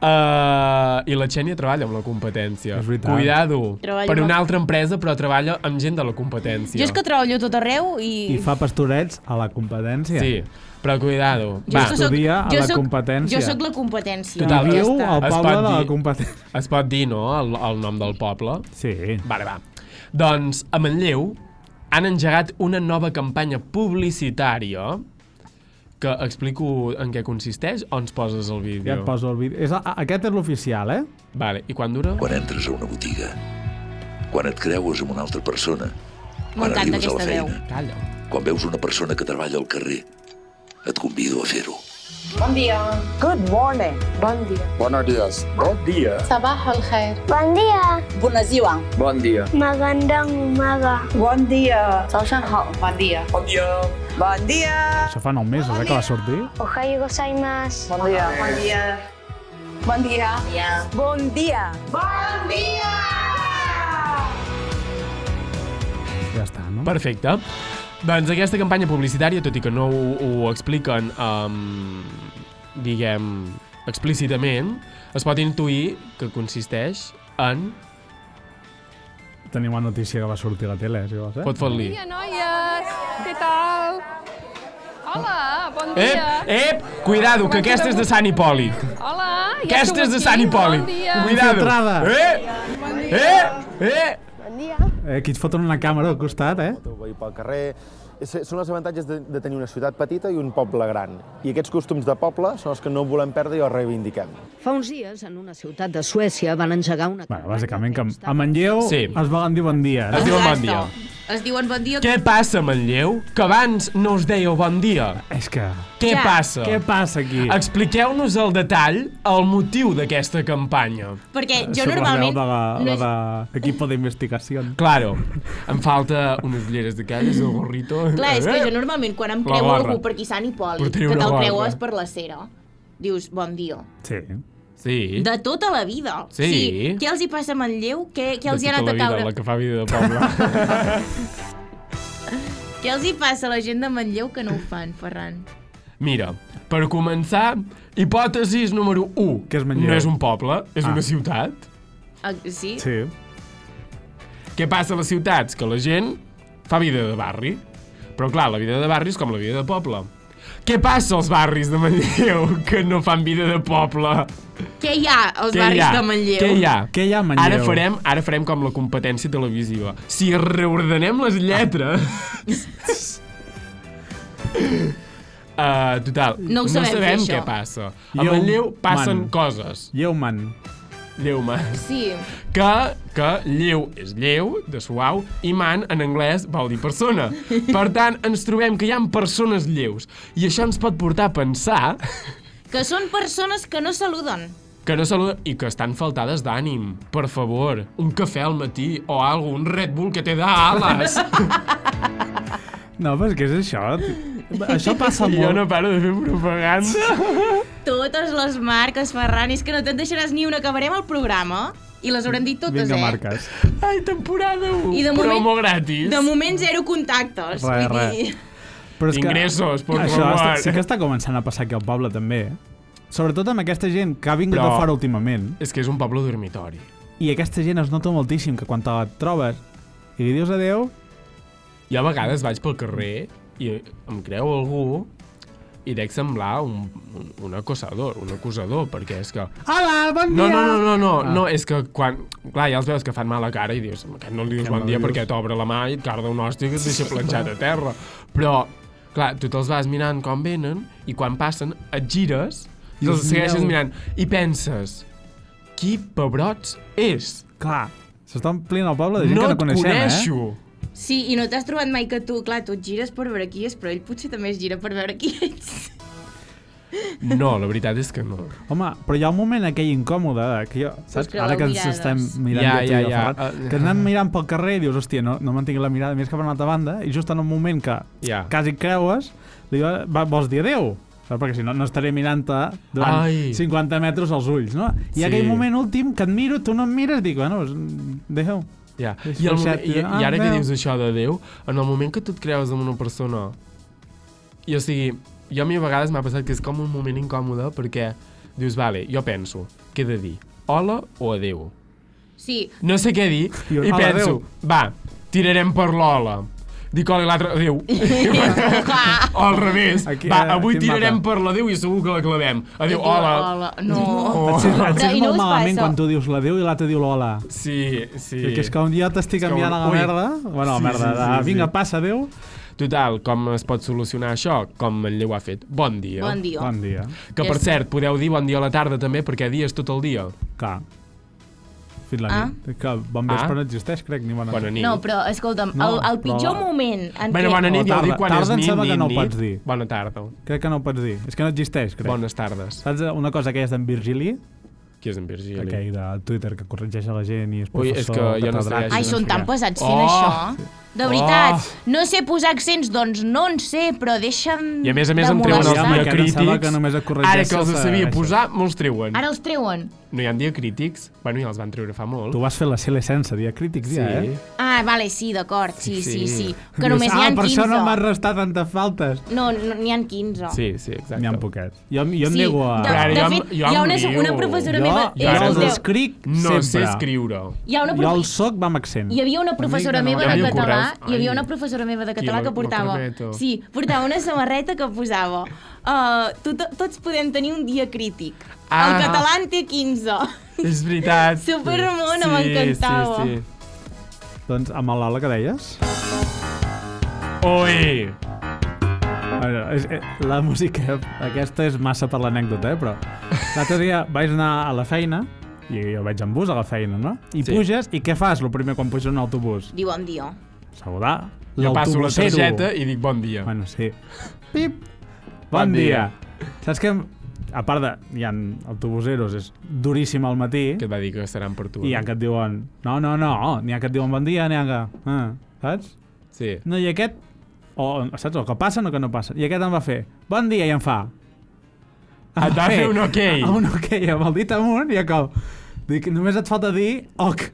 Speaker 2: Uh, I la Xènia treballa amb la competència. És veritat. Cuidado.
Speaker 3: Treballa
Speaker 2: per
Speaker 3: amb-
Speaker 2: una altra empresa, però treballa amb gent de la competència.
Speaker 3: Jo és que treballo a tot arreu i...
Speaker 1: I fa pastorets a la competència.
Speaker 2: Sí, però cuidado.
Speaker 1: Jo és que soc- Estudia a
Speaker 3: jo
Speaker 1: la
Speaker 3: soc-
Speaker 1: competència.
Speaker 3: Jo sóc la competència.
Speaker 2: Total,
Speaker 3: ja
Speaker 2: es-
Speaker 3: està.
Speaker 2: es
Speaker 1: poble
Speaker 2: pot
Speaker 1: de la
Speaker 2: dir-
Speaker 1: competència.
Speaker 2: Es pot dir, no?, el, el nom del poble.
Speaker 1: Sí.
Speaker 2: Vale, va. Doncs, a Manlleu han engegat una nova campanya publicitària que explico en què consisteix o ens poses el vídeo?
Speaker 1: Ja et poso el vídeo. És, a, a- aquest és l'oficial, eh?
Speaker 2: Vale, i quan dura?
Speaker 8: Quan entres a una botiga, quan et creues amb una altra persona, quan
Speaker 3: M'encanta
Speaker 8: arribes a la
Speaker 3: aquesta veu.
Speaker 8: feina, quan veus una persona que treballa al carrer, et convido a fer-ho.
Speaker 5: Bon dia. Good morning. Bon dia.
Speaker 8: Bona dies. Bon dia.
Speaker 5: Sabah al khair. Bon dia. Bona ziwa.
Speaker 8: Bon dia.
Speaker 5: Magandang umaga. Bon dia. Zaoshanhao. Bon dia. Bon dia. Bon dia.
Speaker 1: Això fa 9 mesos, eh, que va sortir.
Speaker 5: Ohayo gozaimasu. Bon dia.
Speaker 8: Bon dia.
Speaker 14: Bon dia. Bon dia. Bon dia.
Speaker 1: Ja està, no?
Speaker 2: Perfecte. Doncs aquesta campanya publicitària, tot i que no ho, ho expliquen, um, diguem, explícitament, es pot intuir que consisteix en...
Speaker 1: Tenim una notícia que va sortir a la tele, si vols, eh?
Speaker 2: Pot fot-li.
Speaker 5: Hola, noies! Què tal? Hola, bon
Speaker 2: Ep,
Speaker 1: Eh?
Speaker 5: dia!
Speaker 2: ep, cuidado, que aquesta és de Sant Hipòlit.
Speaker 5: Hola! Ja
Speaker 2: Aquesta és de
Speaker 5: esteu
Speaker 2: Sant
Speaker 5: aquí?
Speaker 2: Hipòlit.
Speaker 5: Bon dia!
Speaker 2: Cuidado. Eh,
Speaker 5: Bon dia!
Speaker 2: eh, eh!
Speaker 5: Bon dia!
Speaker 1: Eh, aquí et foten una càmera al costat, eh?
Speaker 9: veí pel carrer... És- Són els avantatges de, de tenir una ciutat petita i un poble gran. I aquests costums de poble són els que no volem perdre i els reivindiquem.
Speaker 15: Fa uns dies, en una ciutat de Suècia, van engegar una...
Speaker 1: Bueno, bàsicament que a Manlleu sí. es volen dir bon dia.
Speaker 2: Es diuen bon dia.
Speaker 3: Es diuen bon dia...
Speaker 2: Què passa, Manlleu? Que abans no us dèieu bon dia.
Speaker 1: És que...
Speaker 2: Què
Speaker 3: Ja.
Speaker 2: passa?
Speaker 1: Què passa aquí?
Speaker 2: Expliqueu-nos al detall el motiu d'aquesta campanya.
Speaker 3: Perquè
Speaker 1: Eh,
Speaker 3: jo
Speaker 1: soc la
Speaker 3: normalment...
Speaker 1: veu De la,
Speaker 3: no
Speaker 1: la
Speaker 3: és-
Speaker 1: de equipo de investigación.
Speaker 2: Claro. Em falta unes ulleres de calles, el gorrito... Eh?
Speaker 3: Clar, és
Speaker 1: Eh?
Speaker 3: que jo normalment quan em
Speaker 2: La
Speaker 3: creu
Speaker 2: barra.
Speaker 3: algú per aquí Sant Hipòlit,
Speaker 2: Portaria
Speaker 3: que
Speaker 2: una
Speaker 3: te'l
Speaker 2: barra.
Speaker 3: creues per la cera, dius bon dia.
Speaker 1: Sí.
Speaker 2: Sí.
Speaker 3: De tota la vida.
Speaker 2: Sí.
Speaker 3: O sigui, què els hi passa a Manlleu? Què, què els hi
Speaker 2: De
Speaker 3: ha anat
Speaker 2: tota
Speaker 3: a
Speaker 2: la vida,
Speaker 3: caure?
Speaker 2: La que fa vida de poble.
Speaker 3: Què els hi passa a la gent de Manlleu que no ho fan, Ferran?
Speaker 2: Mira, per començar, hipòtesis número 1.
Speaker 1: Que és Manlleu?
Speaker 2: No és un poble, és
Speaker 1: Ah.
Speaker 2: una ciutat.
Speaker 3: Ah, sí?
Speaker 2: Què passa a les ciutats? Que la gent fa vida de barri. Però clar, la vida de barri és com la vida de poble. Què passa als barris de Manlleu que no fan vida de poble?
Speaker 3: Què hi ha als
Speaker 2: Què
Speaker 3: barris
Speaker 2: hi ha?
Speaker 3: de Manlleu?
Speaker 2: Què hi ha?
Speaker 1: Què hi ha a Manlleu?
Speaker 2: Ara farem, ara farem com la competència televisiva. Si reordenem les lletres... uh, total,
Speaker 1: No ho sabem fer,
Speaker 2: sabem
Speaker 1: això.
Speaker 2: què passa. A Manlleu passen coses.
Speaker 1: Lleuman.
Speaker 2: Lleuman.
Speaker 3: Sí.
Speaker 2: Que, que lleu és lleu, de suau, i man en anglès vol dir persona. Per tant, ens trobem que hi ha persones lleus. I això ens pot portar a pensar
Speaker 3: Que són persones que no saluden.
Speaker 2: que no saluda i que estan faltades d'ànim. Per favor, un cafè al matí o algo, un Red Bull que té d'ales.
Speaker 1: No, però és que és això. Això passa molt.
Speaker 2: Jo no paro de fer propaganda.
Speaker 3: Totes les marques, Ferran, és que no te'n deixaràs ni una. Acabarem el programa i les haurem dit totes,
Speaker 1: Vinga,
Speaker 3: eh?
Speaker 1: marques.
Speaker 2: Ai, temporada 1.
Speaker 3: I de
Speaker 2: Promo
Speaker 3: moment,
Speaker 2: gratis.
Speaker 3: De moment, zero contactes.
Speaker 1: Res,
Speaker 3: vull
Speaker 1: res.
Speaker 3: dir...
Speaker 1: Però és
Speaker 2: Ingressos, por
Speaker 1: això
Speaker 2: favor.
Speaker 1: està- sí que està començant a passar aquí al poble, també. eh? Sobretot amb aquesta gent que ha vingut
Speaker 2: Però-
Speaker 1: de fora últimament.
Speaker 2: És que és un poble dormitori.
Speaker 1: I aquesta gent es nota moltíssim que quan te la trobes i li dius adeu...
Speaker 2: Jo a vegades vaig pel carrer i em creu algú i dec semblar un, un, un acosador, un acusador, perquè és que...
Speaker 1: Hola, bon
Speaker 2: No,
Speaker 1: dia!
Speaker 2: no, no, no, no,
Speaker 1: Ah.
Speaker 2: no, és que quan... Clar, ja els veus que fan mala cara i dius, aquest no li dius
Speaker 1: Aquest
Speaker 2: bon
Speaker 1: no
Speaker 2: dia
Speaker 1: li
Speaker 2: perquè
Speaker 1: dius.
Speaker 2: t'obre la mà i et carda un hòstia i et deixa planxat a terra. Però, clar, tu te'ls vas mirant quan venen i quan passen et gires i
Speaker 1: Dius,
Speaker 2: els segueixes
Speaker 1: "Mireu".
Speaker 2: mirant i penses, qui pebrots és?
Speaker 1: Clar, s'està omplint el poble de gent
Speaker 2: No
Speaker 1: que
Speaker 2: et
Speaker 1: no coneixem,
Speaker 2: coneixo.
Speaker 1: eh?
Speaker 3: Sí, i no t'has trobat mai que tu, clar, tu et gires per veure qui és, però ell potser també es gira per veure qui ets.
Speaker 2: No, la veritat és que no.
Speaker 1: Home, però hi ha un moment aquell incòmode de que jo, saps?
Speaker 2: creueu
Speaker 1: Ara que ens
Speaker 2: mirades.
Speaker 1: estem mirant
Speaker 2: Ja,
Speaker 1: jo, tu
Speaker 2: ja,
Speaker 1: i jo,
Speaker 2: ja.
Speaker 1: Ferran,
Speaker 2: Ah.
Speaker 1: que anem mirant pel carrer i dius, hòstia, no, no mantingui la mirada, mires cap a una altra banda, i just en un moment que
Speaker 2: Ja.
Speaker 1: quasi creues, li va, va, vols dir adeu? Saps? Perquè si no, no estaré mirant-te durant
Speaker 2: Ai.
Speaker 1: 50 metres als ulls, no? I
Speaker 2: Sí.
Speaker 1: aquell moment últim que et miro, tu no em mires, dic, bueno, doncs, pues, adeu.
Speaker 2: Ja.
Speaker 1: És
Speaker 2: I, el, moment-
Speaker 1: forçat,
Speaker 2: i,
Speaker 1: ah,
Speaker 2: I ara que
Speaker 1: adeu.
Speaker 2: dius això de Déu, en el moment que tu et creus amb una persona... I o sigui, jo a mi a vegades m'ha passat que és com un moment incòmode perquè dius, vale, jo penso, què he de dir? Hola o adeu?
Speaker 3: Sí,
Speaker 2: No sé què dir
Speaker 1: I jo,
Speaker 2: i
Speaker 1: "Hola,
Speaker 2: penso,
Speaker 1: adeu."
Speaker 2: va, tirarem per l'hola. Dic hola i l'altre, adéu. o al revés.
Speaker 1: Aquí,
Speaker 2: va,
Speaker 1: eh,
Speaker 2: avui
Speaker 1: aquí em
Speaker 2: tirarem
Speaker 1: mata.
Speaker 2: per l'adéu i segur que la clavem. Adéu,
Speaker 3: Adéu,
Speaker 2: hola.
Speaker 3: hola. No.
Speaker 1: Et sents, et
Speaker 3: Però,
Speaker 1: sents
Speaker 3: i no
Speaker 1: molt
Speaker 3: us
Speaker 1: malament
Speaker 3: passa?
Speaker 1: quan tu dius l'adeu i l'altre diu l'hola.
Speaker 2: Oh. Sí, sí.
Speaker 1: Que és com jo t'estic
Speaker 2: És com,
Speaker 1: enviant a la
Speaker 2: ui.
Speaker 1: merda. Bueno, a la merda, de, vinga, passa, adéu.
Speaker 2: Total, com es pot solucionar això? Com en Lleu ha fet. Bon dia.
Speaker 3: Bon dia. Bon
Speaker 1: dia.
Speaker 2: Que, per
Speaker 3: És-
Speaker 2: cert, podeu dir bon dia a la tarda també, perquè dies tot el dia.
Speaker 1: Clar. Fins la
Speaker 3: Ah.
Speaker 1: nit. Que bon vespre
Speaker 2: Ah.
Speaker 1: no existeix, crec, ni bona nit.
Speaker 2: Bona nit.
Speaker 3: No, però escolta'm,
Speaker 1: No,
Speaker 3: el, el
Speaker 1: però-
Speaker 3: pitjor moment en
Speaker 2: Bueno,
Speaker 3: què...
Speaker 2: bona nit,
Speaker 1: O
Speaker 2: ja ho dic
Speaker 1: tarda.
Speaker 2: quan
Speaker 1: Tarda
Speaker 2: és
Speaker 1: em
Speaker 2: nit,
Speaker 1: sembla
Speaker 2: nit,
Speaker 1: que no ho
Speaker 2: nit.
Speaker 1: pots dir.
Speaker 2: Bona tarda.
Speaker 1: Crec que no ho pots dir. És que no existeix, crec.
Speaker 2: Bones tardes.
Speaker 1: Saps una cosa que és d'en Virgili?
Speaker 2: Qui és en Virgili?
Speaker 1: Aquell de Twitter que corregeix a la gent i és
Speaker 2: Ui, és
Speaker 1: professor...
Speaker 2: que jo no sé
Speaker 1: catedràtic.
Speaker 2: llegir,
Speaker 3: Ai, són tan pesats fent
Speaker 2: Oh!
Speaker 3: això. De
Speaker 2: Oh!
Speaker 3: veritat, no sé posar accents, doncs no en sé, però deixa'm
Speaker 2: I a més a més
Speaker 3: de
Speaker 2: em treuen els
Speaker 1: molestar.
Speaker 3: molestar.
Speaker 1: Ja, perquè
Speaker 2: diacrítics.
Speaker 1: ara em sembla que només
Speaker 2: Ara que els
Speaker 1: corregeixes,
Speaker 2: sabia
Speaker 1: eh,
Speaker 2: posar, me'ls treuen.
Speaker 3: Ara els treuen.
Speaker 2: No hi ha diacrítics? Bueno, ja els van treure fa molt.
Speaker 1: Tu vas fer la CL sense dia crítics, ja,
Speaker 2: Sí.
Speaker 1: eh?
Speaker 3: Ah, vale, sí, d'acord, sí, sí,
Speaker 1: Sí.
Speaker 3: sí. Que només
Speaker 1: Dius,
Speaker 3: n'hi ha
Speaker 1: "Ah, per això
Speaker 3: 15.
Speaker 1: no m'has restat tantes faltes.
Speaker 3: No, no, n'hi ha 15.
Speaker 2: sí, exacte.
Speaker 1: N'hi ha poquets. Jo, jo em
Speaker 3: Sí,
Speaker 1: nego a...
Speaker 3: de- Però ara de jo em- fet, jo em hi ha una- una rio. professora
Speaker 1: jo,
Speaker 3: meva-
Speaker 1: Jo
Speaker 3: Jo
Speaker 1: els
Speaker 3: no-
Speaker 1: escric
Speaker 2: no
Speaker 1: sempre.
Speaker 2: sé escriure.
Speaker 3: Hi ha una
Speaker 1: Jo
Speaker 3: profe-
Speaker 1: el soc va amb accent.
Speaker 3: Hi havia una professora
Speaker 1: Amiga, no,
Speaker 3: meva
Speaker 1: ja
Speaker 3: de
Speaker 1: m'hi
Speaker 3: català,
Speaker 1: correus.
Speaker 3: hi havia una
Speaker 1: Ai.
Speaker 3: professora meva de
Speaker 1: Qui,
Speaker 3: català
Speaker 1: la-
Speaker 3: que
Speaker 1: la
Speaker 3: portava...
Speaker 1: Carmeto.
Speaker 3: Sí, portava una samarreta que posava uh, tot, tots podem tenir un dia crític.
Speaker 2: Ah.
Speaker 3: El català en té 15.
Speaker 2: És veritat.
Speaker 3: Supermona, m'encantava.
Speaker 2: Sí, sí.
Speaker 1: Doncs amb l'Ola que deies?
Speaker 2: Oi!
Speaker 1: Veure, és, eh, la música aquesta és massa per l'anècdota, eh, però... L'altre dia vaig anar a la feina, i jo vaig en bus a la feina, no? I
Speaker 2: Sí.
Speaker 1: sí. puges, i què fas el primer quan puges a un autobús?
Speaker 3: Diu bon dia.
Speaker 1: Saludar
Speaker 2: Jo passo la
Speaker 1: l'autobusero.
Speaker 2: targeta i dic bon dia.
Speaker 1: Bueno, sí.
Speaker 2: Pip.
Speaker 1: Bon, dia. Saps que, a part de, hi ha autobuseros, és duríssim al matí.
Speaker 2: Que et va dir que seran per tu.
Speaker 1: I hi ha que et diuen, no, no, no, n'hi ha que et diuen bon dia, n'hi ha que... Ah, saps?
Speaker 2: Sí.
Speaker 1: No, i aquest, o, saps, o que passen o que no passen. I aquest em va fer, bon dia, i em fa... Em
Speaker 2: Et va fer un ok.
Speaker 1: Ah, Un ok, amb el dit amunt, i com... Dic, només et falta dir ok.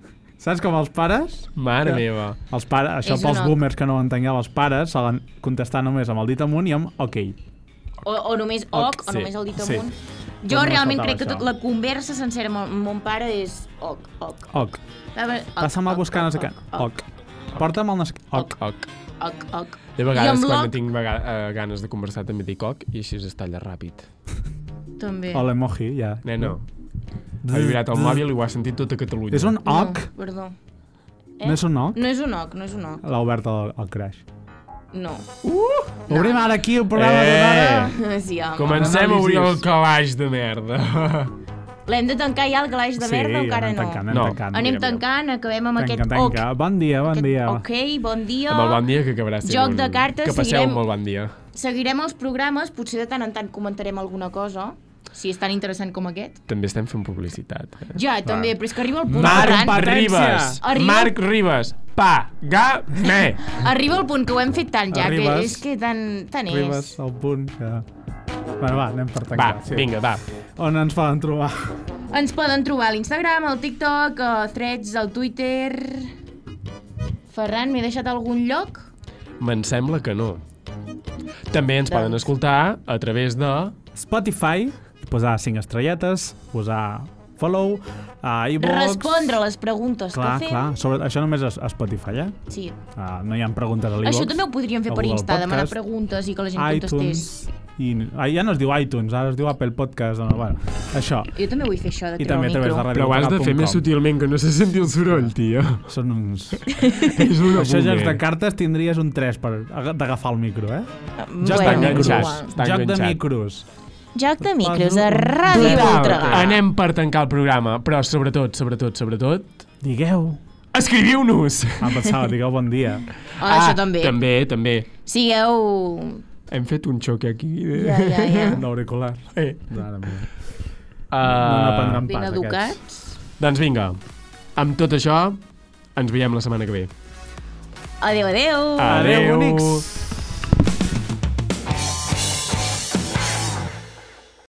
Speaker 1: Saps com els pares?
Speaker 2: Mare
Speaker 1: Que-
Speaker 2: meva.
Speaker 1: Els pares, això
Speaker 3: És un
Speaker 1: pels
Speaker 3: ok.
Speaker 1: boomers que no ho entengueu, els pares solen contestar només amb el dit amunt i amb ok.
Speaker 3: O, o només oc,
Speaker 1: Sí,
Speaker 3: o només el dit
Speaker 1: sí.
Speaker 3: amunt.
Speaker 1: Doncs no
Speaker 3: Jo
Speaker 1: em
Speaker 3: realment
Speaker 1: faltava
Speaker 3: crec que
Speaker 1: això.
Speaker 3: tot la conversa sencera amb el- amb mon pare és oc, oc.
Speaker 1: Oc. Passa'm a buscar no sé què. Oc. Porta'm el nas... Oc.
Speaker 2: Oc.
Speaker 3: Oc, oc.
Speaker 2: De
Speaker 3: I
Speaker 2: vegades,
Speaker 3: amb
Speaker 2: quan
Speaker 3: l'oc
Speaker 2: no tinc vega eh, ganes de conversar, també dic oc i així es talla ràpid.
Speaker 3: també.
Speaker 1: O l'emoji, ja.
Speaker 2: Neno. Ha vibrat el mòbil i ho ha sentit tota Catalunya.
Speaker 1: És un oc?
Speaker 3: No, Oh, Eh? perdó.
Speaker 1: No és un oc?
Speaker 3: No és un oc, no és un oc.
Speaker 1: L'ha obert el, el crash.
Speaker 3: No.
Speaker 1: Obrim ara aquí el programa eh. d'una hora.
Speaker 3: Sí, home.
Speaker 2: Comencem a obrir el
Speaker 1: Anàlisis.
Speaker 2: calaix de merda.
Speaker 3: L'hem de tancar ja el calaix de
Speaker 1: Sí,
Speaker 3: merda o encara
Speaker 1: anem
Speaker 3: no?
Speaker 1: tancant, anem No. tancant.
Speaker 3: Anem
Speaker 1: Aviam,
Speaker 3: tancant, acabem amb
Speaker 1: Tanca,
Speaker 3: aquest
Speaker 1: tanca. Bon dia, bon dia.
Speaker 3: ok. Ok, bon dia.
Speaker 2: Amb el bon dia que acabarà sent
Speaker 3: Joc
Speaker 2: un-
Speaker 3: de cartes,
Speaker 2: Que passeu
Speaker 3: seguirem-
Speaker 2: un molt bon dia.
Speaker 3: Seguirem els programes, potser de tant en tant comentarem alguna cosa, si és tan interessant com aquest.
Speaker 2: També estem fent publicitat. Eh?
Speaker 3: Ja, també, però és que arriba el punt...
Speaker 2: Marc
Speaker 3: Ferran,
Speaker 2: Ribes.
Speaker 3: Arriba,
Speaker 2: Marc Ribes. Paga-me.
Speaker 3: arriba el punt que ho hem fet tant ja,
Speaker 1: Arribes.
Speaker 3: que és que tant, tant és.
Speaker 1: Arribes al punt que... Bueno, va, anem per tancar.
Speaker 2: Va, vinga, va.
Speaker 1: On ens poden trobar?
Speaker 3: Ens poden trobar a l'Instagram, al TikTok, a Threads, al Twitter... Ferran, m'he deixat algun lloc?
Speaker 2: Me'n sembla que no. També ens poden escoltar a través de...
Speaker 1: Spotify, posar 5 estrelletes, posar follow, a iVoox...
Speaker 3: Respondre a les preguntes
Speaker 1: Clar,
Speaker 3: que fem.
Speaker 1: clar. Sobre, això només és a Spotify, eh?
Speaker 3: Sí.
Speaker 1: Uh, no hi ha preguntes a l'Ivox.
Speaker 3: Això també ho podríem fer per Insta, demanar preguntes i que la gent
Speaker 1: iTunes,
Speaker 3: contestés.
Speaker 1: i, ah, ja no es diu iTunes, ara es diu Apple Podcast. No, bueno, això.
Speaker 3: Jo també vull fer això, de
Speaker 1: I també
Speaker 3: treure
Speaker 1: a
Speaker 3: el
Speaker 1: través
Speaker 3: micro.
Speaker 1: de
Speaker 2: Però ho has de fer més sutilment, que no se senti el soroll, tio.
Speaker 1: Són uns...
Speaker 2: És una
Speaker 1: Això ja
Speaker 2: boomer.
Speaker 1: de cartes tindries un 3 per aga- d'agafar el micro, eh?
Speaker 2: Està
Speaker 1: de
Speaker 2: enganxat,
Speaker 1: micros.
Speaker 2: està
Speaker 1: Joc de
Speaker 2: enganxat.
Speaker 1: micros.
Speaker 3: Joc de micros a Ràdio
Speaker 2: Total,
Speaker 3: Voltregà.
Speaker 2: Anem per tancar el programa, però sobretot, sobretot, sobretot...
Speaker 1: Digueu.
Speaker 2: Escriviu-nos!
Speaker 1: Ah, pensava, digueu bon dia.
Speaker 3: Ah, això també.
Speaker 2: També, també.
Speaker 3: Sigueu...
Speaker 2: Hem fet un xoc aquí. De...
Speaker 3: Ja, ja, ja.
Speaker 1: Un auricular.
Speaker 2: Eh.
Speaker 1: Mare meva.
Speaker 2: Uh,
Speaker 1: No n'aprendran
Speaker 3: ben educats.
Speaker 2: Doncs vinga, amb tot això, ens veiem la setmana que ve.
Speaker 3: Adéu, adéu.
Speaker 2: Adéu.
Speaker 1: Adéu, bonics.